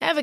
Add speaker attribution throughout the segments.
Speaker 1: Ever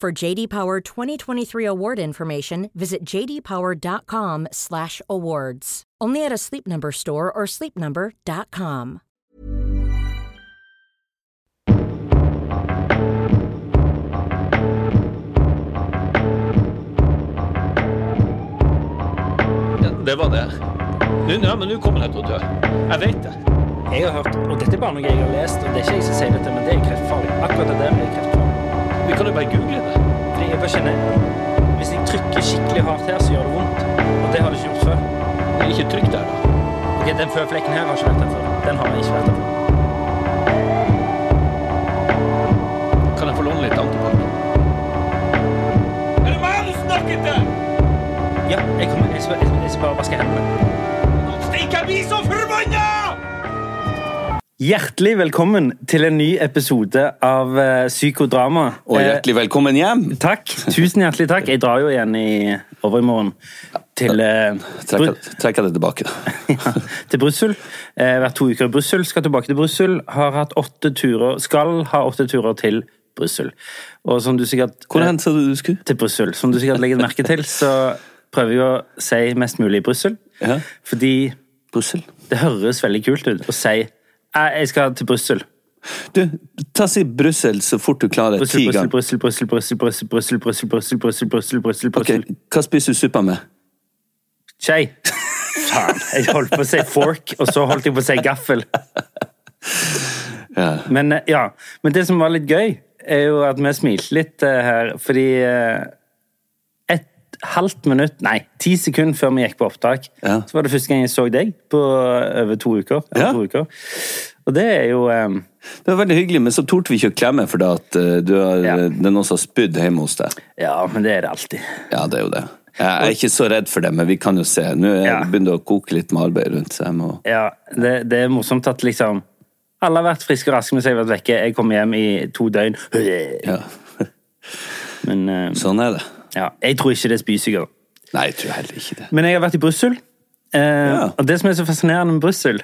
Speaker 2: For JD Power 2023 award information, visit jdpower.com/awards. Only at a Sleep Number store or sleepnumber.com.
Speaker 3: Ja, det var det. Nå, ja, men nå kommer jeg til å dø. Jeg vet det.
Speaker 4: Jeg har hørt, og dette er bare noe jeg har lest, og det er ikke jeg som sier dette, men det er kreftfarlig. Akkurat det der blir kreftfarlig.
Speaker 3: Vi kan jo bare google det.
Speaker 4: Fordi jeg bare kjenner, hvis jeg trykker skikkelig hardt her, så gjør det vondt. Og det har det ikke gjort før.
Speaker 3: Ikke trykk der, da.
Speaker 4: Ok, den føflekken her har ikke vært der før. Den har jeg ikke vært der før.
Speaker 3: Kan jeg få låne litt antibac? Er det meg du snakker til?
Speaker 4: Ja, jeg kommer, jeg skal, jeg skal, jeg skal bare vaske hendene.
Speaker 3: Stikk, jeg blir så forbanna!
Speaker 5: Hjertelig velkommen til en ny episode av eh, Psykodrama.
Speaker 6: Og hjertelig velkommen hjem.
Speaker 5: Eh, takk. Tusen hjertelig takk. Jeg drar jo igjen i overmorgen til, eh,
Speaker 6: Trekker,
Speaker 5: Bru-
Speaker 6: trekker det tilbake, da.
Speaker 5: ja, til Brussel. Eh, vært to uker i Brussel, skal tilbake til Brussel. Har hatt åtte turer, skal ha åtte turer til Brussel. Og som du sikkert eh,
Speaker 6: Hvor hen sa du du skulle?
Speaker 5: til Brussel. Som du sikkert legger merke til, så prøver jeg å si mest mulig Brussel.
Speaker 6: Ja.
Speaker 5: Fordi
Speaker 6: Brussel.
Speaker 5: det høres veldig kult ut å si «Nei, jeg skal til Brussel.
Speaker 6: Du, ta si Brussel så fort du klarer.
Speaker 5: Brussel,
Speaker 6: Ti
Speaker 5: Brussel,
Speaker 6: ganger.
Speaker 5: Brussel, Brussel, Brussel, Brussel, Brussel, Brussel, Brussel, Brussel, Brussel, Brussel,
Speaker 6: Ok,
Speaker 5: Brussel.
Speaker 6: Hva spiser du suppa med?
Speaker 5: Skei. Faen, jeg holdt på å si fork, og så holdt jeg på å si gaffel.
Speaker 6: Ja.
Speaker 5: Men eh, ja, men det som var litt gøy, er jo at vi smilte litt eh, her, fordi eh, et halvt minutt, nei, ti sekunder før vi gikk på opptak,
Speaker 6: Ja.
Speaker 5: så var det første gang jeg så deg på over to uker. eller
Speaker 6: Ja.
Speaker 5: To uker. Og det er jo eh,
Speaker 6: Det var veldig hyggelig, men så torde vi ikke å klemme fordi at eh, du har,
Speaker 5: Ja.
Speaker 6: det er noen som har spydd hjemme hos deg.
Speaker 5: Ja, men det er det alltid.
Speaker 6: Ja, det er jo det. Jeg er ikke så redd for det, men vi kan jo se. Nå er-
Speaker 5: Ja.
Speaker 6: begynner det å koke litt med arbeid rundt, så jeg må
Speaker 5: Ja, det, det er morsomt at liksom alle har vært friske og raske mens jeg har vært vekke. Jeg kom hjem i to døgn.
Speaker 6: Ja,
Speaker 5: Men eh,
Speaker 6: sånn er det.
Speaker 5: ja, jeg tror ikke det er spysyke. da.
Speaker 6: Nei, jeg tror heller ikke det.
Speaker 5: Men jeg har vært i Brussel. Eh, Og det som er så fascinerende med Brussel,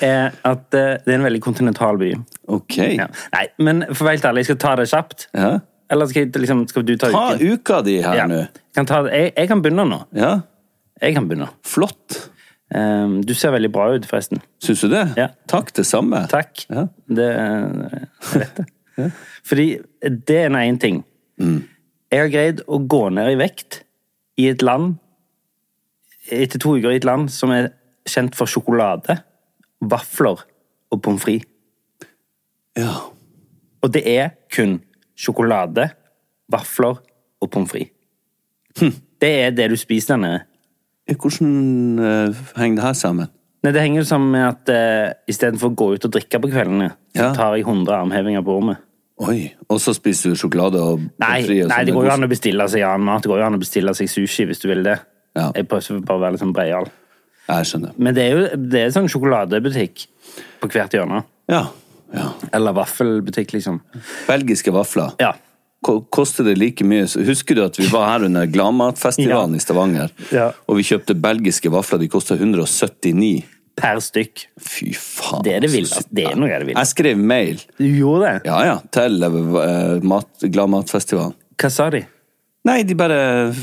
Speaker 5: er at eh, det er en veldig kontinental by.
Speaker 6: Ok.
Speaker 5: Ja. Nei, men for å være helt ærlig, jeg skal ta det kjapt.
Speaker 6: Ja.
Speaker 5: Eller skal, jeg, liksom, skal du ta
Speaker 6: Ta
Speaker 5: uken?
Speaker 6: uka di her
Speaker 5: Ja.
Speaker 6: nå.
Speaker 5: Jeg Kan ta, det. jeg, jeg kan begynne nå.
Speaker 6: Ja.
Speaker 5: Jeg kan begynne.
Speaker 6: Flott.
Speaker 5: Eh, du ser veldig bra ut, forresten.
Speaker 6: Syns du det?
Speaker 5: Ja.
Speaker 6: Takk, det samme.
Speaker 5: Takk.
Speaker 6: Ja.
Speaker 5: Det eh, jeg vet det. Fordi det er nå én ting.
Speaker 6: Mm.
Speaker 5: Jeg har greid å gå ned i vekt i et land Etter to uker i et land som er kjent for sjokolade, vafler og pommes frites.
Speaker 6: Ja.
Speaker 5: Og det er kun sjokolade, vafler og pommes frites. Hm. Det er det du spiser der nede.
Speaker 6: Ja, Hvordan eh, henger det her sammen?
Speaker 5: Nei, Det henger jo sammen med at eh, istedenfor å gå ut og drikke på kveldene, så
Speaker 6: Ja.
Speaker 5: tar jeg 100 armhevinger på rommet.
Speaker 6: Oi, og så spiser du sjokolade og
Speaker 5: Nei,
Speaker 6: og fri og
Speaker 5: nei
Speaker 6: sånn.
Speaker 5: det går jo an å bestille seg annen mat. Det går jo an å bestille seg sushi hvis du vil det.
Speaker 6: Ja.
Speaker 5: Jeg prøver bare å være litt sånn breial.
Speaker 6: Jeg skjønner.
Speaker 5: Men det er jo det er sånn sjokoladebutikk på hvert hjørne.
Speaker 6: Ja, ja.
Speaker 5: Eller vaffelbutikk, liksom.
Speaker 6: Belgiske vafler.
Speaker 5: Ja.
Speaker 6: Ko- Koster det like mye? så- Husker du at vi var her under Gladmatfestivalen
Speaker 5: Ja.
Speaker 6: i Stavanger?
Speaker 5: Ja.
Speaker 6: Og vi kjøpte belgiske vafler. De kosta 179.
Speaker 5: Per stykk.
Speaker 6: Fy faen.
Speaker 5: Det er det
Speaker 6: så
Speaker 5: villeste.
Speaker 6: sykt.
Speaker 5: Det er noe av det villeste.
Speaker 6: Jeg skrev mail
Speaker 5: Du gjorde det?
Speaker 6: ja, ja, til eh, mat, Gladmatfestivalen.
Speaker 5: Hva sa de?
Speaker 6: Nei, de bare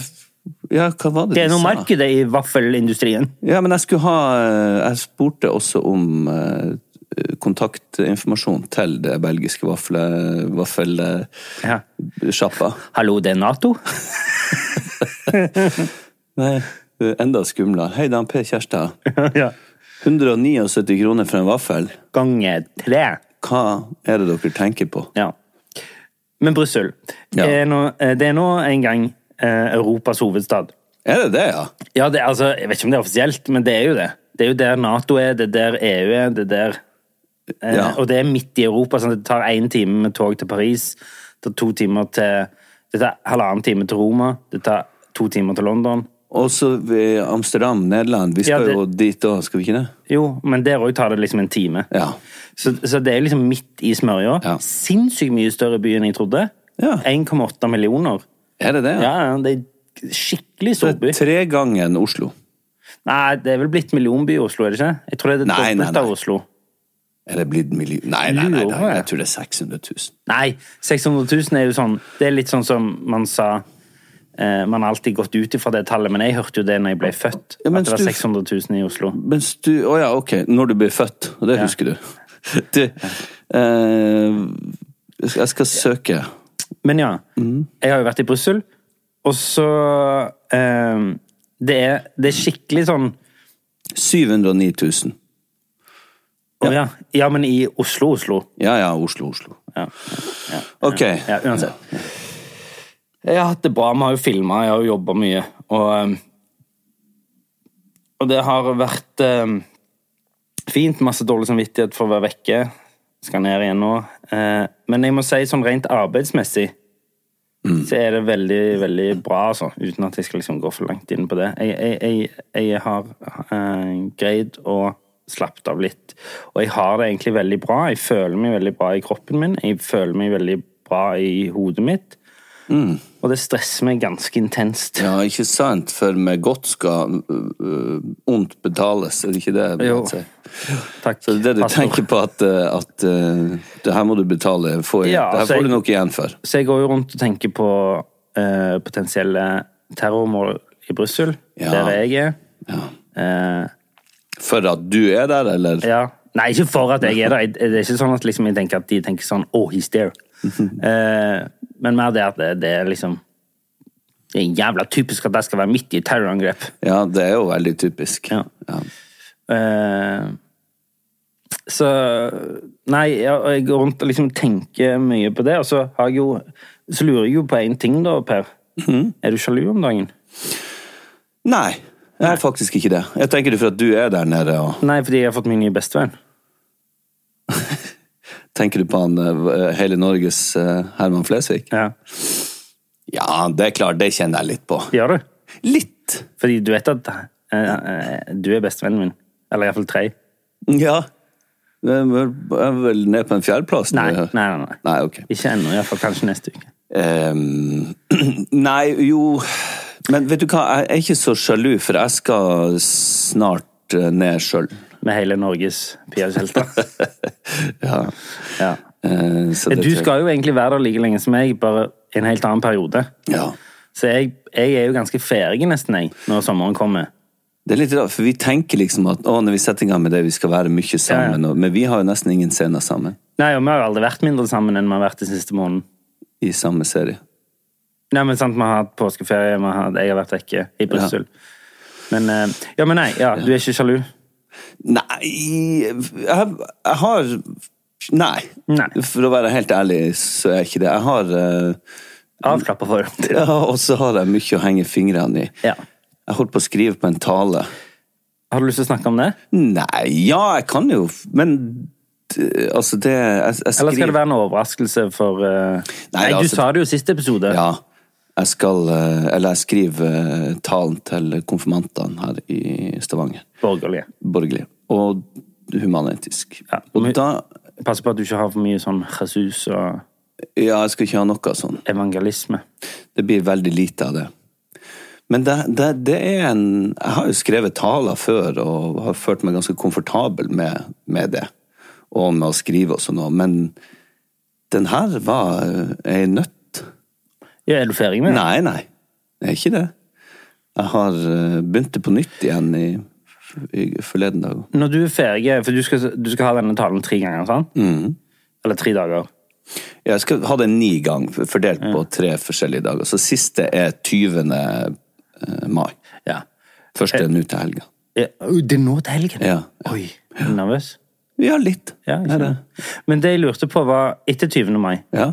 Speaker 6: Ja, hva var det,
Speaker 5: Det er
Speaker 6: de
Speaker 5: noe
Speaker 6: sa?
Speaker 5: marked i vaffelindustrien.
Speaker 6: Ja, men jeg skulle ha eh, Jeg spurte også om eh, eh, kontaktinformasjon til det belgiske vaffelsjappa. Vaffel,
Speaker 5: Ja.
Speaker 6: sjappa.
Speaker 5: Hallo, det er Nato?
Speaker 6: Nei, eh, enda skumlere. Hei, det er han Per Kjærstad.
Speaker 5: ja.
Speaker 6: 179 kroner for en vaffel.
Speaker 5: Gange tre.
Speaker 6: Hva er det dere tenker på?
Speaker 5: Ja. Men Brussel
Speaker 6: Ja.
Speaker 5: er nå- eh, det er nå en gang eh, Europas hovedstad.
Speaker 6: Er det det, ja?
Speaker 5: Ja, det, altså, Jeg vet ikke om det er offisielt, men det er jo det. Det er jo der Nato er, det er der EU er, det er der eh,
Speaker 6: Ja.
Speaker 5: Og det er midt i Europa, sånn at det tar én time med tog til Paris, det tar to timer til Det tar halvannen time til Roma, det tar to timer til London.
Speaker 6: Og så ved Amsterdam, Nederland. Vi skal
Speaker 5: Ja, det-
Speaker 6: jo dit òg, skal vi ikke det?
Speaker 5: Jo, men der òg tar det liksom en time.
Speaker 6: Ja.
Speaker 5: Så, så det er liksom midt i smørja.
Speaker 6: Ja.
Speaker 5: Sinnssykt mye større by enn jeg trodde.
Speaker 6: Ja.
Speaker 5: 1,8 millioner.
Speaker 6: Er det det?
Speaker 5: Ja, ja, det er skikkelig
Speaker 6: Det
Speaker 5: storby.
Speaker 6: er tre ganger enn Oslo.
Speaker 5: Nei, det er vel blitt millionby i Oslo, er det ikke? Jeg tror det er det
Speaker 6: Nei, nei,
Speaker 5: dobbelte av
Speaker 6: nei.
Speaker 5: Oslo.
Speaker 6: Er det blitt million... Nei, nei, nei, nei,
Speaker 5: Lurer, ja.
Speaker 6: jeg tror det er 600 000.
Speaker 5: Nei, 600 000 er jo sånn Det er litt sånn som man sa eh, Man har alltid gått ut ifra det tallet, men jeg hørte jo det når jeg ble født.
Speaker 6: Ja, men
Speaker 5: at det var
Speaker 6: du-
Speaker 5: 600 000 i Oslo.
Speaker 6: Mens du Å ja, ok. Når du ble født. og Det husker du. Du eh, Jeg skal søke.
Speaker 5: Men ja, jeg har jo vært i Brussel, og så eh, det, er, det er skikkelig sånn
Speaker 6: 709 000.
Speaker 5: Å ja. ja, men i Oslo, Oslo.
Speaker 6: Ja ja, Oslo, Oslo.
Speaker 5: Ja.
Speaker 6: Ok.
Speaker 5: Ja, uansett. Jeg har hatt det bra. Vi har jo filma, jeg har jo jobba mye. Og, um, og det har vært um, fint. Masse dårlig samvittighet for å være vekke. Skal ned igjen nå. Eh, Men jeg må si sånn rent arbeidsmessig
Speaker 6: Mm.
Speaker 5: så er det veldig, veldig bra, altså. Uten at jeg skal liksom gå for langt inn på det. Jeg, jeg, jeg, jeg har eh, greid å slappe av litt. Og jeg har det egentlig veldig bra. Jeg føler meg veldig bra i kroppen min. Jeg føler meg veldig bra i hodet mitt. Og det stresser meg ganske intenst.
Speaker 6: Mm. Ja, ikke sant? For med godt skal øh, ondt betales, er det ikke det? jeg vil
Speaker 5: Jo.
Speaker 6: si?
Speaker 5: Takk.
Speaker 6: Så det er det du
Speaker 5: pastor.
Speaker 6: tenker på, at, øh, at øh, det her må du betale for.
Speaker 5: Ja,
Speaker 6: det her
Speaker 5: så
Speaker 6: får
Speaker 5: jeg-
Speaker 6: du nok igjen for.
Speaker 5: Så jeg går jo rundt og tenker på eh, potensielle terrormål i Brussel,
Speaker 6: Ja.
Speaker 5: der jeg er. Eh,
Speaker 6: For at du er der, eller?
Speaker 5: ja. Nei, ikke for at jeg er der. Jeg- Det er ikke sånn at liksom, jeg tenker at de tenker sånn Oh, he's there. Eh, men mer det at det, det er liksom Det er jævla typisk at det skal være midt i et terrorangrep.
Speaker 6: Ja, det er jo veldig typisk.
Speaker 5: Ja. Eh, så Nei, jeg, jeg går rundt og liksom tenker mye på det. Og så, har jeg jo, så lurer jeg jo på én ting, da, Per. Er du sjalu om dagen?
Speaker 6: Nei, jeg er faktisk ikke det. Jeg tenker det for at du er der nede, og
Speaker 5: Nei, fordi jeg har fått min nye bestevenn.
Speaker 6: tenker du på han, øh, hele Norges øh, Herman Flesvig?
Speaker 5: Ja.
Speaker 6: Ja, det er klart, det kjenner jeg litt på.
Speaker 5: Gjør du?
Speaker 6: Litt!
Speaker 5: Fordi du vet at eh, eh, du er bestevennen min. Eller iallfall tre.
Speaker 6: Ja. Det er vel- jeg er vel ned på en fjerdeplass?
Speaker 5: Nei, nei,
Speaker 6: nå.
Speaker 5: nei. nei.
Speaker 6: Nei, ok.
Speaker 5: Ikke ennå, iallfall kanskje neste uke.
Speaker 6: Ehm, nei, jo Men vet du hva, jeg er ikke så sjalu, for jeg skal snart eh, ned sjøl.
Speaker 5: Med hele Norges PR-helter.
Speaker 6: ja.
Speaker 5: ja.
Speaker 6: Eh, så det
Speaker 5: Du
Speaker 6: tror jeg-
Speaker 5: skal jo egentlig være der like lenge som meg, bare en helt annen periode.
Speaker 6: Ja.
Speaker 5: Så jeg, jeg er jo ganske ferdig nesten, jeg, når sommeren kommer.
Speaker 6: Det er litt rart, for vi tenker liksom at å, når vi setter i gang med det, vi skal være mye sammen, og, men vi har jo nesten ingen scener sammen
Speaker 5: Nei, og vi har jo aldri vært mindre sammen enn vi har vært den siste måneden.
Speaker 6: i samme serie.
Speaker 5: Nei, men sant, vi har hatt påskeferie, vi har, jeg har vært vekke i Brussel. Men, eh, ja, men nei, ja, du er ikke sjalu?
Speaker 6: Nei Jeg, jeg har nei.
Speaker 5: Nei.
Speaker 6: For å være helt ærlig, så er jeg ikke det. Jeg har eh,
Speaker 5: Avklappa for det.
Speaker 6: Ja, og så har jeg mye å henge fingrene i.
Speaker 5: Ja.
Speaker 6: Jeg holdt på å skrive på en tale.
Speaker 5: Har du lyst til å snakke om det?
Speaker 6: Nei, ja, jeg kan jo f- Men d- altså, det Jeg, jeg skriver
Speaker 5: Eller skal det være en overraskelse for eh, Nei,
Speaker 6: Nei,
Speaker 5: du
Speaker 6: altså-
Speaker 5: sa det jo i siste episode.
Speaker 6: Ja. Jeg skal eh, Eller jeg skriver eh, talen til konfirmantene her i Stavanger.
Speaker 5: Borgerlige.
Speaker 6: Borgerlig. Og humanetisk.
Speaker 5: Ja,
Speaker 6: Og
Speaker 5: men-
Speaker 6: da
Speaker 5: Pass på at du ikke har for mye sånn Jesus og
Speaker 6: Ja, jeg skal ikke ha noe sånn.
Speaker 5: evangelisme.
Speaker 6: Det blir veldig lite av det. Men det, det, det er en Jeg har jo skrevet taler før og har følt meg ganske komfortabel med, med det. Og med å skrive og sånn òg. Men den her var eh, ei nøtt.
Speaker 5: Ja, er du ferdig med det?
Speaker 6: Nei, nei. Det er ikke det. Jeg har eh, begynt det på nytt igjen i i, forleden dag.
Speaker 5: Når du er ferdig, eh, for du skal, du skal ha denne talen tre ganger, sant? Eller tre dager.
Speaker 6: Jeg skal ha det ni ganger, fordelt på tre forskjellige dager. Så siste er 20. eh, mai.
Speaker 5: Ja.
Speaker 6: Første er nå til helga.
Speaker 5: Eh, oi, Det er nå til helgen?
Speaker 6: Ja.
Speaker 5: Oi. Er du nervøs?
Speaker 6: Ja, litt.
Speaker 5: Ja,
Speaker 6: Er
Speaker 5: ikke
Speaker 6: det.
Speaker 5: sant? Men det jeg lurte på, var etter 20. mai.
Speaker 6: Ja.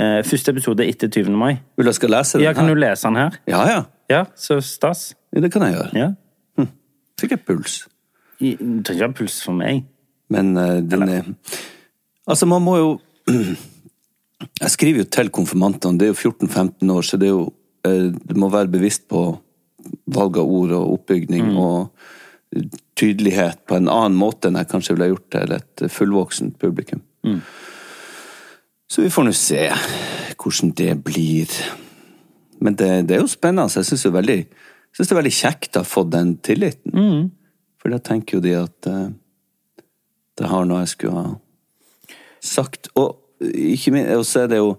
Speaker 5: Eh, første episode etter 20. mai.
Speaker 6: Vil du jeg skal lese den
Speaker 5: Ja, kan du lese den her?
Speaker 6: Ja, ja.
Speaker 5: Ja, så stas.
Speaker 6: Ja, Det kan jeg gjøre.
Speaker 5: Ja.
Speaker 6: Fikk jeg puls.
Speaker 5: I- Du trenger ikke ha puls for meg.
Speaker 6: Men eh, den er Altså, man må jo Jeg skriver jo til konfirmantene, det er jo 14-15 år, så det er jo eh, Du må være bevisst på valg av ord og
Speaker 5: Mm.
Speaker 6: oppbygning og tydelighet på en annen måte enn jeg kanskje ville ha gjort til et fullvoksent publikum. Så vi får nå se hvordan det blir. Men det, det er jo spennende. Jeg syns det, er veldig- jeg synes det er veldig kjekt å ha fått den tilliten. For da tenker jo de at eh, det har noe jeg skulle ha sagt. Og ikke minst, og så er det jo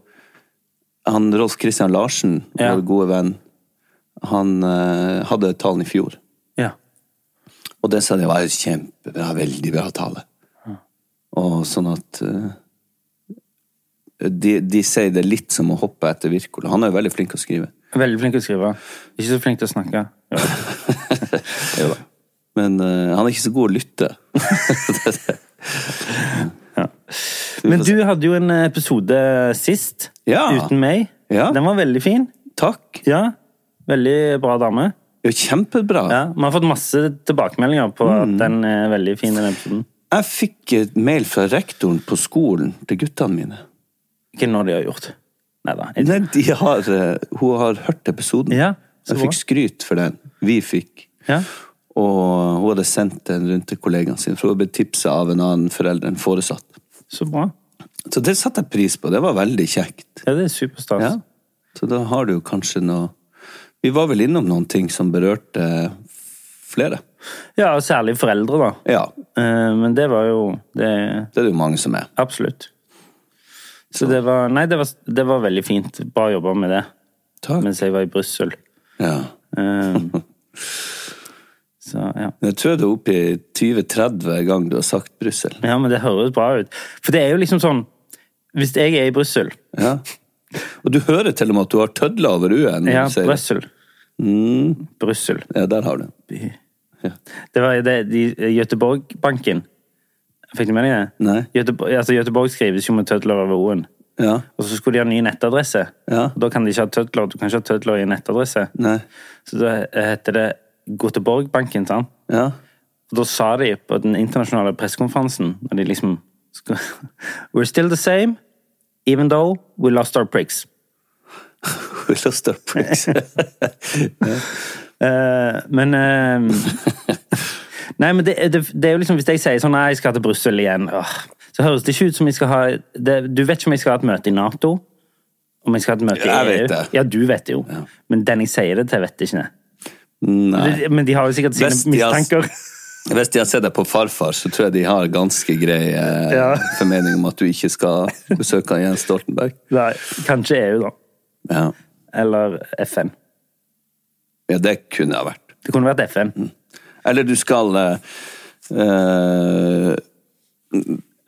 Speaker 6: han Rolf Christian Larsen,
Speaker 5: Ja.
Speaker 6: vår gode venn, han eh, hadde talen i fjor.
Speaker 5: Ja.
Speaker 6: Og det sa de var en kjempebra, veldig bra tale. Og sånn at eh, de, de sier det litt som å hoppe etter Wirkola. Han er jo veldig flink til å skrive.
Speaker 5: Veldig flink til å skrive. Ikke så flink til å snakke. Ja.
Speaker 6: Men eh, han er ikke så god å lytte.
Speaker 5: Men du hadde jo en episode sist,
Speaker 6: Ja.
Speaker 5: uten meg.
Speaker 6: Ja.
Speaker 5: Den var veldig fin.
Speaker 6: Takk.
Speaker 5: Ja, Veldig bra dame.
Speaker 6: Det er jo kjempebra.
Speaker 5: Ja, Vi har fått masse tilbakemeldinger på
Speaker 6: Mm.
Speaker 5: at den er veldig fin. den episoden.
Speaker 6: Jeg fikk et mail fra rektoren på skolen til guttene mine.
Speaker 5: Ikke når de har gjort. Neida.
Speaker 6: Nei, de har, eh, hun har hørt episoden.
Speaker 5: Ja, så
Speaker 6: jeg fikk
Speaker 5: bra.
Speaker 6: skryt for den. Vi fikk.
Speaker 5: Ja.
Speaker 6: Og hun hadde sendt den rundt til kollegaene sine, for hun ble tipsa av en annen forelder, en foresatt.
Speaker 5: Så bra.
Speaker 6: Så det satte jeg pris på. Det var veldig kjekt.
Speaker 5: Ja, Det er superstas.
Speaker 6: Ja. Så da har du jo kanskje noe Vi var vel innom noen ting som berørte flere.
Speaker 5: Ja, og særlig foreldre, da.
Speaker 6: Ja.
Speaker 5: Eh, Men det var jo det,
Speaker 6: Det er det jo mange som er.
Speaker 5: Absolutt. Så det var Nei, det var, det var veldig fint. Bra jobba med det
Speaker 6: Takk.
Speaker 5: mens jeg var i Brussel.
Speaker 6: Ja.
Speaker 5: Eh, Så ja.
Speaker 6: Jeg tror det er oppe i 20-30 gang du har sagt Brussel.
Speaker 5: Ja, men det høres bra ut. For det er jo liksom sånn Hvis jeg er i Brussel
Speaker 6: Ja. Og du hører til og med at du har tødla over U-en. når
Speaker 5: Ja,
Speaker 6: du sier det. Mm.
Speaker 5: Brussel. Brussel.
Speaker 6: Ja, der har du. Ja.
Speaker 5: Det var det, de, Göteborg-banken. Fikk du med deg det?
Speaker 6: Nei.
Speaker 5: Göteborg, altså, Göteborg skrives jo med tødler over O-en.
Speaker 6: Ja.
Speaker 5: Og så skulle de ha ny nettadresse.
Speaker 6: Ja.
Speaker 5: Og Da kan de ikke ha tødler. Du kan ikke ha tødler i en nettadresse.
Speaker 6: Nei.
Speaker 5: Så da heter det Göteborg-banken, sant?
Speaker 6: Ja.
Speaker 5: Og da sa de på den internasjonale pressekonferansen når de liksom skulle- We're still the same, even though we lost our pricks.
Speaker 6: Will of Starpricks.
Speaker 5: Eh, men eh, Nei, men det, det, det er jo liksom Hvis jeg sier sånn Nei, jeg skal til Brussel igjen. Åh, så høres det ikke ut som jeg skal ha det, Du vet ikke om jeg skal ha et møte i Nato? Om jeg skal ha et møte
Speaker 6: Jeg
Speaker 5: i
Speaker 6: vet
Speaker 5: EU?
Speaker 6: det.
Speaker 5: Ja, du vet det jo. Men den jeg sier det til, vet ikke det.
Speaker 6: Nei.
Speaker 5: Men de har jo sikkert sine
Speaker 6: Best de har-
Speaker 5: mistanker.
Speaker 6: Hvis de har sett deg på Farfar, så tror jeg de har ganske grei eh,
Speaker 5: Ja.
Speaker 6: formening om at du ikke skal besøke Jens Stoltenberg.
Speaker 5: Nei, kanskje EU, da.
Speaker 6: Ja.
Speaker 5: Eller FN.
Speaker 6: ja, det kunne jeg vært.
Speaker 5: Det kunne vært FN.
Speaker 6: Eller du skal eh, eh,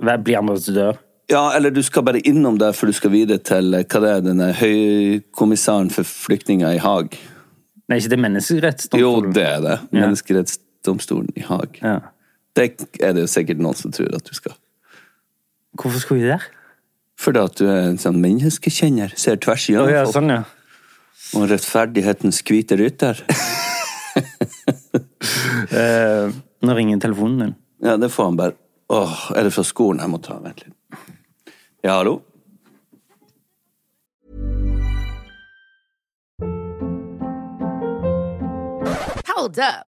Speaker 5: Vær- Bli ambassadør.
Speaker 6: Ja, eller du skal bare innom der, for du skal videre til eh, hva det er, denne høykommissæren for flyktninger i Haag.
Speaker 5: Nei, ikke til
Speaker 6: Jo,
Speaker 5: menneskerettsdomstolen.
Speaker 6: det er det.
Speaker 5: Ja.
Speaker 6: Menneskerettsdomstolen i Haag.
Speaker 5: Ja.
Speaker 6: Det er det jo sikkert noen som tror at du skal.
Speaker 5: Hvorfor skulle de der?
Speaker 6: Fordi at du er en sånn menneskekjenner. Ser tvers
Speaker 5: Å
Speaker 6: igjennom
Speaker 5: ja,
Speaker 6: folk.
Speaker 5: sånn, ja.
Speaker 6: Og rettferdighetens hvite rytter.
Speaker 5: Eh, nå ringer telefonen din.
Speaker 6: Ja, det får han bare. Åh, er det fra skolen jeg må ta? Vent litt. Ja, hallo?
Speaker 1: Hold up.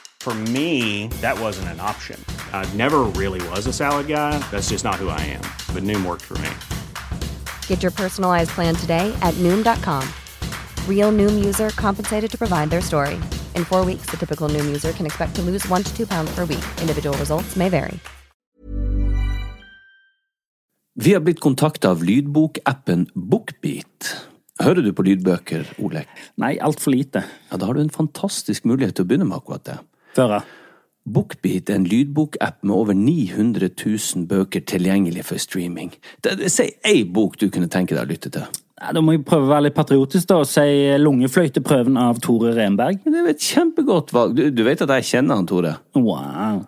Speaker 7: For me, that wasn't an option. I never really was a salad guy. That's just not who I am. But Noom worked for me.
Speaker 8: Get your personalized plan today at Noom.com. Real Noom user compensated to provide their story. In four weeks, the typical Noom user can expect to lose one to two pounds per week. Individual results may vary.
Speaker 6: Vi har blitt kontakta av lydbokappen Bookbeat. Hører du på lydbøker, Olek?
Speaker 5: Nei, altfor lite.
Speaker 6: Ja, Da har du en fantastisk mulighet til å begynne med akkurat det.
Speaker 5: Føre.
Speaker 6: Bookbeat er en lydbokapp med over 900 000 bøker tilgjengelig for streaming. Det, det, si ei bok du kunne tenke deg å lytte til.
Speaker 5: Ja, da må jeg prøve å være litt patriotisk da, og si Lungefløyteprøven av Tore Renberg.
Speaker 6: Det er et kjempegodt valg. Du, du, vet at jeg kjenner han, Tore?
Speaker 5: Wow.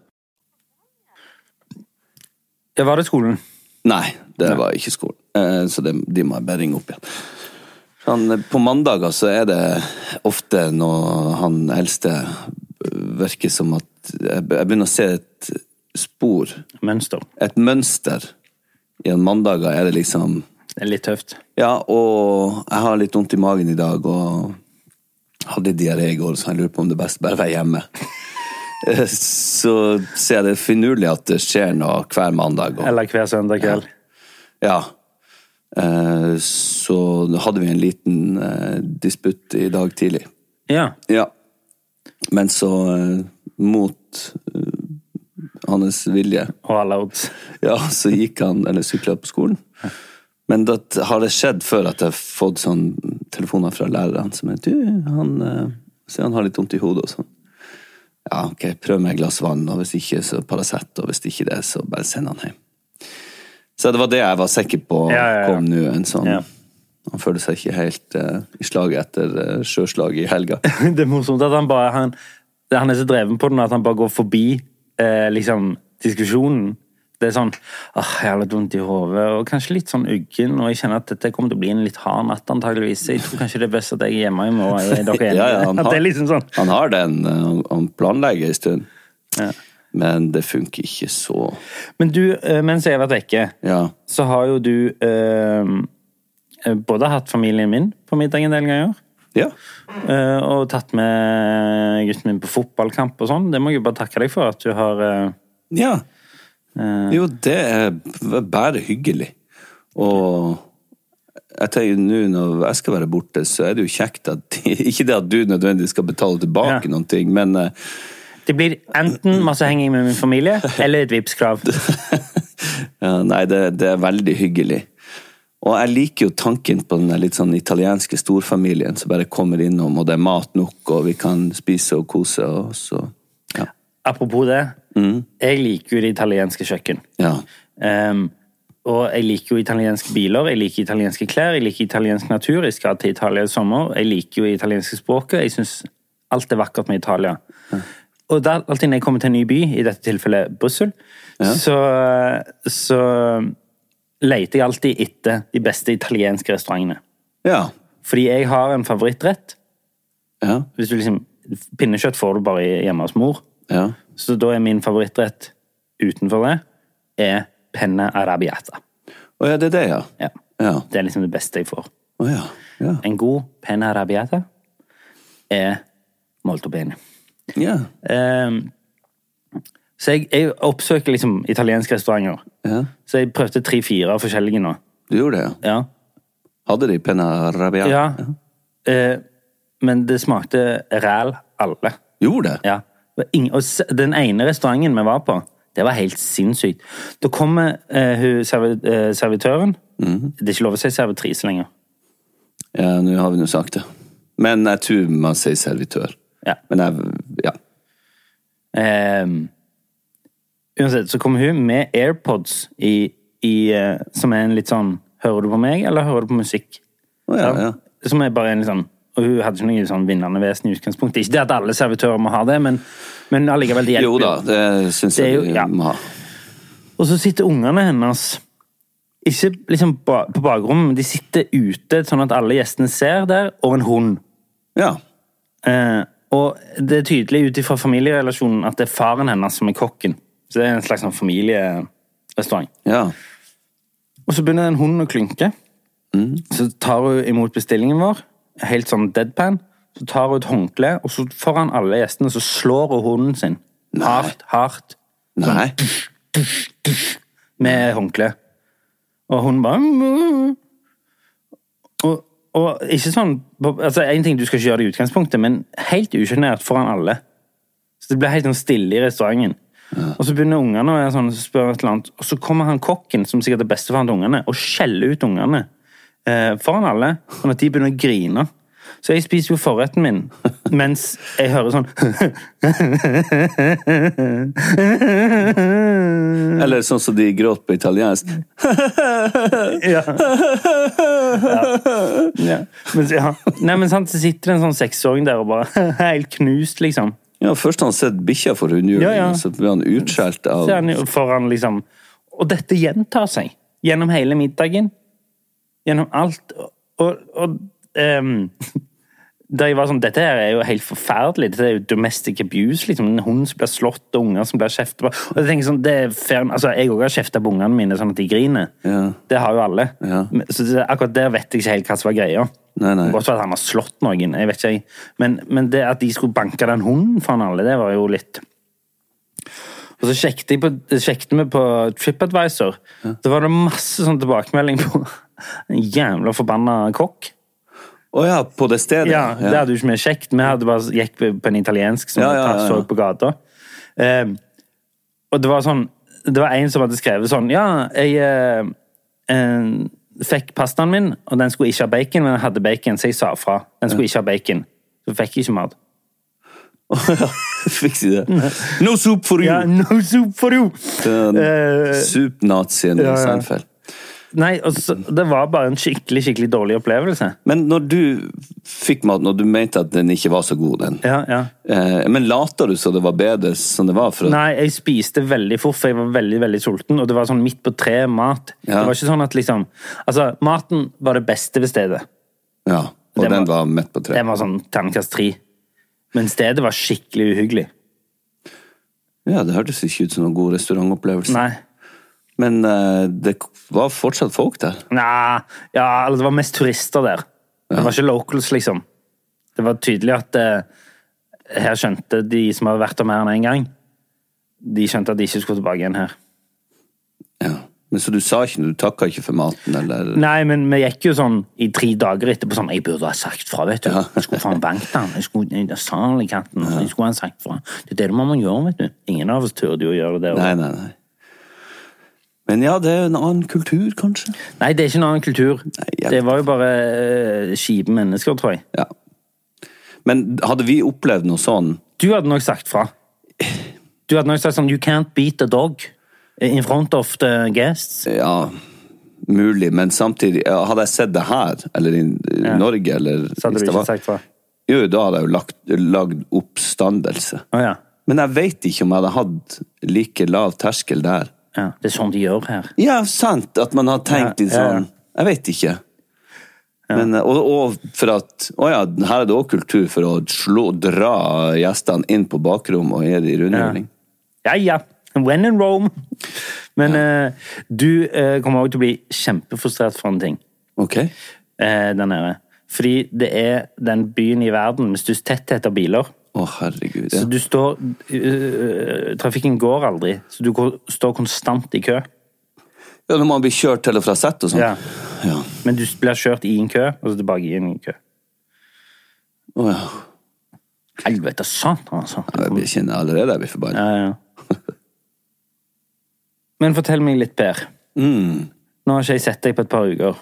Speaker 5: Ja, var det skolen?
Speaker 6: Nei, det var ikke skolen. Eh, Så det, de må jeg bare ringe opp igjen. Han, eh, på mandager så er det ofte når han eldste eh, virker som at Jeg begynner å se et spor.
Speaker 5: Mønster.
Speaker 6: Et mønster. I en mandager er det liksom
Speaker 5: Det er litt tøft.
Speaker 6: Ja, og jeg har litt vondt i magen i dag, og hadde diaré i går, så jeg lurer på om det er best bare å være hjemme. Eh, så ser jeg det finurlig at det skjer noe hver mandag. Og,
Speaker 5: Eller hver søndag kveld.
Speaker 6: ja. ja. Så hadde vi en liten eh, disputt i dag tidlig.
Speaker 5: Ja.
Speaker 6: ja. Men så, eh, mot eh, hans vilje
Speaker 5: Og alle odds.
Speaker 6: Ja, så gikk han, eller sykla på skolen. Men det har det skjedd før at jeg har fått sånn telefoner fra lærerne som er Du, han, eh, han har litt vondt i hodet og sånn. Ja, ok, prøv med et glass vann, og hvis ikke, så Paracet, og hvis ikke det, så bare send han hjem. Så det var det jeg var sikker på
Speaker 5: ja, ja, ja.
Speaker 6: kom nå. en sånn... Han føler seg ikke helt uh, i slaget etter uh, sjøslaget i helga.
Speaker 5: det er morsomt at han bare han, han, er så dreven på den at han bare går forbi eh, liksom, diskusjonen. Det er sånn åh, Jeg har litt vondt i hodet og kanskje litt sånn uggen. Og jeg kjenner at dette kommer til å bli en litt hard natt antageligvis. Jeg tror kanskje det er best at jeg er hjemme i morgen. Er dere enige?
Speaker 6: han,
Speaker 5: har, liksom sånn.
Speaker 6: han har den. Uh, han planlegger en stund.
Speaker 5: Ja.
Speaker 6: Men det funker ikke så
Speaker 5: Men du, eh, mens jeg har vært vekke,
Speaker 6: ja.
Speaker 5: så har jo du eh, både hatt familien min på middag en del ganger.
Speaker 6: Ja.
Speaker 5: Eh, og tatt med gutten min på fotballkamp og sånn. Det må jeg jo bare takke deg for at du har eh,
Speaker 6: Ja. jo, det er bare hyggelig. Og jeg tenker nå når jeg skal være borte, så er det jo kjekt at Ikke det at du nødvendigvis skal betale tilbake ja. noen ting, men eh,
Speaker 5: det blir enten masse henging med min familie eller et Vipps-krav.
Speaker 6: ja, eh, nei, det, det, er veldig hyggelig. Og jeg liker jo tanken på den litt sånn italienske storfamilien som bare kommer innom, og det er mat nok, og vi kan spise og kose. Og så, ja.
Speaker 5: Apropos det.
Speaker 6: Mm.
Speaker 5: Jeg liker jo det italienske kjøkken.
Speaker 6: Ja.
Speaker 5: Um, og jeg liker jo italienske biler, jeg liker italienske klær, jeg liker italiensk natur. Jeg skal til Italia i sommer. Jeg liker jo det italienske språket. Jeg syns alt er vakkert med Italia. Ja og der, alltid når jeg kommer til en ny by, i dette tilfellet Brussel,
Speaker 6: ja.
Speaker 5: så, så, leter jeg alltid etter de beste italienske restaurantene.
Speaker 6: Ja.
Speaker 5: Fordi jeg har en favorittrett.
Speaker 6: Ja.
Speaker 5: Hvis du liksom, Pinnekjøtt får du bare hjemme hos mor.
Speaker 6: Ja.
Speaker 5: Så da er min favorittrett utenfor det er penne arabiata.
Speaker 6: Å ja, det er det, ja.
Speaker 5: Ja.
Speaker 6: Ja.
Speaker 5: Det er liksom det beste jeg får.
Speaker 6: Å ja. Ja.
Speaker 5: En god penna rabiata er molto bene.
Speaker 6: ja.
Speaker 5: Ehm, så jeg, jeg oppsøker liksom italienske restauranter.
Speaker 6: Ja.
Speaker 5: Så jeg prøvde tre-fire forskjellige nå.
Speaker 6: Du gjorde det, ja.
Speaker 5: Ja.
Speaker 6: Hadde de penna rabia?
Speaker 5: ja. Eh, men det smakte ræl alle.
Speaker 6: Gjorde det?
Speaker 5: Ja. Det var ing- Og s- den ene restauranten vi var på, det var helt sinnssykt. Da kommer eh, hun servi eh, servitøren.
Speaker 6: Mhm.
Speaker 5: Det er ikke lov å si servitrise lenger.
Speaker 6: Ja, nå har vi nå sagt det. Men jeg tror man sier servitør.
Speaker 5: Ja.
Speaker 6: Men jeg Ja.
Speaker 5: Ehm, uansett, så kommer hun med AirPods i, i eh, Som er en litt sånn Hører du på meg, eller hører du på musikk?
Speaker 6: Å ja, ja.
Speaker 5: Som er bare en litt sånn Og hun hadde ikke noe sånn vinnende vesen i utgangspunktet. Ikke det at alle servitører må ha det, men, men allikevel, det hjelper.
Speaker 6: Jo da, det syns
Speaker 5: Det er
Speaker 6: jeg
Speaker 5: jo-
Speaker 6: vi
Speaker 5: ja.
Speaker 6: må ha.
Speaker 5: Og så sitter ungene hennes ikke liksom ba på bakrommet, men de sitter ute sånn at alle gjestene ser der, og en hund.
Speaker 6: Ja.
Speaker 5: Eh, og det er tydelig ut ifra familierelasjonen at det er faren hennes som er kokken. Så det er en slags sånn familierestaurant.
Speaker 6: Ja.
Speaker 5: Og så begynner den hunden å klynke. Så tar hun imot bestillingen vår, helt sånn deadpan. Så tar hun et håndkle, og så foran alle gjestene så slår hun hunden sin.
Speaker 6: Nei.
Speaker 5: Hardt, hardt,
Speaker 6: Nei.
Speaker 5: med håndkle. Og hun bare «Mm». og, og ikke sånn altså En ting du skal ikke gjøre det i utgangspunktet, men helt usjenert foran alle. Så det ble helt sånn stille i restauranten. Og så begynner ungene å være sånn, så spør et eller annet, og så kommer han kokken, som sikkert er bestefaren til ungene, og skjeller ut ungene eh, foran alle, sånn at de begynner å grine. Så jeg spiser jo forretten min, mens jeg hører sånn
Speaker 6: Eller sånn som de gråter på italiensk.
Speaker 5: Ja. ja. Men, så- ja. Nei, men sant, så sitter det en sånn seksåring der og bare helt knust, liksom.
Speaker 6: Ja, først har han sett bikkja for hundehjuling,
Speaker 5: Ja, ja.
Speaker 6: og så ble han utskjelt av
Speaker 5: Så er han jo foran, liksom. Og dette gjentar seg gjennom hele middagen. Gjennom alt. Og, og ehm, da jeg var sånn, Dette her er jo helt forferdelig. Dette er jo domestic abuse. liksom, En hund som blir slått, og unger som blir kjefta på. Og Jeg tenker sånn, det er fair, altså, jeg òg har kjefta på ungene mine sånn at de griner.
Speaker 6: Ja.
Speaker 5: Det har jo alle.
Speaker 6: Ja.
Speaker 5: Men- Så det, akkurat der vet jeg ikke helt hva som var greia.
Speaker 6: Nei, nei.
Speaker 5: Godt for at han har slått noen. jeg vet ikke. jeg. Men, men det at de skulle banke den hunden foran alle, det var jo litt og så sjekket, jeg på, sjekket vi på TripAdvisor. Da var det masse sånn tilbakemelding på en jævla forbanna kokk.
Speaker 6: Å ja, på det stedet?
Speaker 5: Ja, Det hadde jo ikke vi sjekket. Vi hadde bare gikk på en italiensk som
Speaker 6: Ja, ja, ja, ja.
Speaker 5: så på gata. Eh, og det var sånn Det var en som hadde skrevet sånn Ja, jeg eh, eh, fikk pastaen min, og den skulle ikke ha bacon, men den hadde bacon, så jeg sa fra. Den skulle ikke ha bacon. Så fikk jeg ikke mat.
Speaker 6: Fikk si det. No soup for you!
Speaker 5: Ja, no soup for you!
Speaker 6: Den
Speaker 5: Eh,
Speaker 6: Soup-nazien i
Speaker 5: ja, ja.
Speaker 6: Seinfeld.
Speaker 5: Nei, og så, det var bare en skikkelig, skikkelig dårlig opplevelse.
Speaker 6: Men når du fikk mat, når du mente at den ikke var så god, den
Speaker 5: Ja, ja.
Speaker 6: eh, Men lata du så det var bedre som det var? For at,
Speaker 5: Nei, jeg spiste veldig fort, for jeg var veldig veldig sulten. Og det var sånn midt på treet mat.
Speaker 6: Ja.
Speaker 5: Det var ikke sånn at liksom Altså, maten var det beste ved stedet.
Speaker 6: ja, og
Speaker 5: Det
Speaker 6: den
Speaker 5: må-
Speaker 6: var midt på
Speaker 5: Det
Speaker 6: treet?
Speaker 5: var sånn terningkast tre. Men stedet var skikkelig uhyggelig.
Speaker 6: Ja, det hørtes ikke ut som noen god restaurantopplevelse.
Speaker 5: Nei.
Speaker 6: Men eh, det var fortsatt folk der.
Speaker 5: Nei, ja, eller det var mest turister der. Det var ikke locals, liksom. Det var tydelig at eh, her skjønte de som hadde vært der mer enn én en gang, de skjønte at de ikke skulle tilbake igjen her.
Speaker 6: Ja. Men Så du sa ikke noe? Du takka ikke for maten, eller?
Speaker 5: Nei, men vi gikk jo sånn i tre dager etterpå sånn Jeg burde ha sagt fra, vet du. Jeg skulle faen banket han. Jeg skulle jeg sa han i kanten. Jeg skulle ha sagt fra. Det er det man må gjøre, vet du. Ingen av oss turde jo å gjøre det.
Speaker 6: Nei, nei, nei. Men ja, det er en annen kultur, kanskje.
Speaker 5: Nei, det er ikke en annen kultur.
Speaker 6: jeg
Speaker 5: det
Speaker 6: vet
Speaker 5: var jo bare eh, kjipe mennesker, tror jeg.
Speaker 6: Ja. Men hadde vi opplevd noe sånn
Speaker 5: Du hadde nok sagt fra. Du hadde nok sagt sånn You can't beat a dog in front of the guests.
Speaker 6: Ja, mulig, men samtidig ja, Hadde jeg sett det her, eller i i Norge, eller
Speaker 5: Så hadde du
Speaker 6: hvis det
Speaker 5: ikke
Speaker 6: var-
Speaker 5: sagt fra.
Speaker 6: Jo, da hadde jeg jo lagt, lagd oppstandelse.
Speaker 5: Å ja.
Speaker 6: Men jeg veit ikke om jeg hadde hatt like lav terskel der.
Speaker 5: ja. Det er sånn de gjør her.
Speaker 6: Ja, sant, at man har tenkt
Speaker 5: Ja,
Speaker 6: litt
Speaker 5: ja, ja.
Speaker 6: sånn Jeg vet ikke. Men, eh, og, og for at Å ja, her er det òg kultur for å slå, dra gjestene inn på bakrommet og gi dem rundhjuling.
Speaker 5: Ja ja. When in Rome. Men eh, du eh, kommer også til å bli kjempefrustrert for en ting
Speaker 6: Ok. Å,
Speaker 5: eh, der nede. Fordi det er den byen i verden med størst tetthet av biler.
Speaker 6: herregud.
Speaker 5: Så
Speaker 6: Ja.
Speaker 5: du står eh, Trafikken går aldri, så du går, står konstant i kø.
Speaker 6: ja, når man blir kjørt til og fra sett og sånn.
Speaker 5: Ja.
Speaker 6: Ja.
Speaker 5: Men du blir kjørt i en kø, og så tilbake i en kø.
Speaker 6: Å, ja.
Speaker 5: Helvete, satan, altså.
Speaker 6: Jeg blir- kjenner allerede jeg blir forbanna.
Speaker 5: Ja, ja. Men fortell meg litt, Per. Mm. Nå har ikke jeg sett deg på et par uker.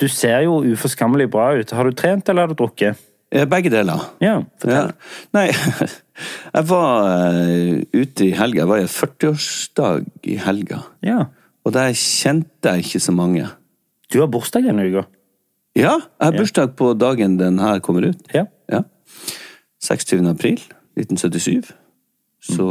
Speaker 5: Du ser jo uforskammelig bra ut. Har du trent, eller har du drukket?
Speaker 6: Eh, Begge deler.
Speaker 5: Ja,
Speaker 6: Ja.
Speaker 5: fortell.
Speaker 6: Nei, jeg var eh, ute i helga. Jeg var i 40-årsdag i helga.
Speaker 5: Ja.
Speaker 6: Og der kjente jeg ikke så mange.
Speaker 5: Du har bursdag denne uka.
Speaker 6: Ja, jeg har bursdag på dagen den her kommer ut.
Speaker 5: Ja.
Speaker 6: Ja. 26. april 1977 så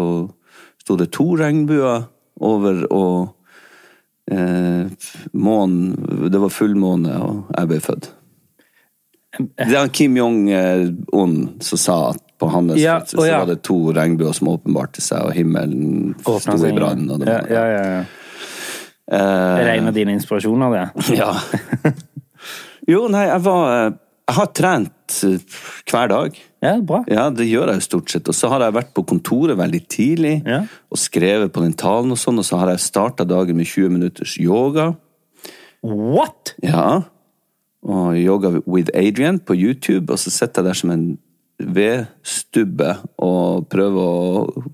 Speaker 6: sto det to regnbuer over, og eh, månen Det var fullmåne, og jeg ble født. Det var Kim Jong-un som sa at på hans
Speaker 5: Ja, å
Speaker 6: fødsel så
Speaker 5: ja.
Speaker 6: var det to regnbuer som åpenbarte seg, og himmelen sto i brann. og Eh, det
Speaker 5: Ja,
Speaker 6: var-
Speaker 5: ja, ja, ja. Er det en av dine inspirasjoner, det?
Speaker 6: Ja. Jo, nei, jeg var eh, Jeg har trent eh, hver dag.
Speaker 5: Ja, bra.
Speaker 6: Ja, det gjør jeg jo stort sett. Og så har jeg vært på kontoret veldig tidlig
Speaker 5: Ja.
Speaker 6: og skrevet på den talen og sånn, og så har jeg starta dagen med 20 minutters yoga.
Speaker 5: What?!
Speaker 6: Ja. Og Yoga with Adrian på YouTube, og så sitter jeg der som en vedstubbe og prøver å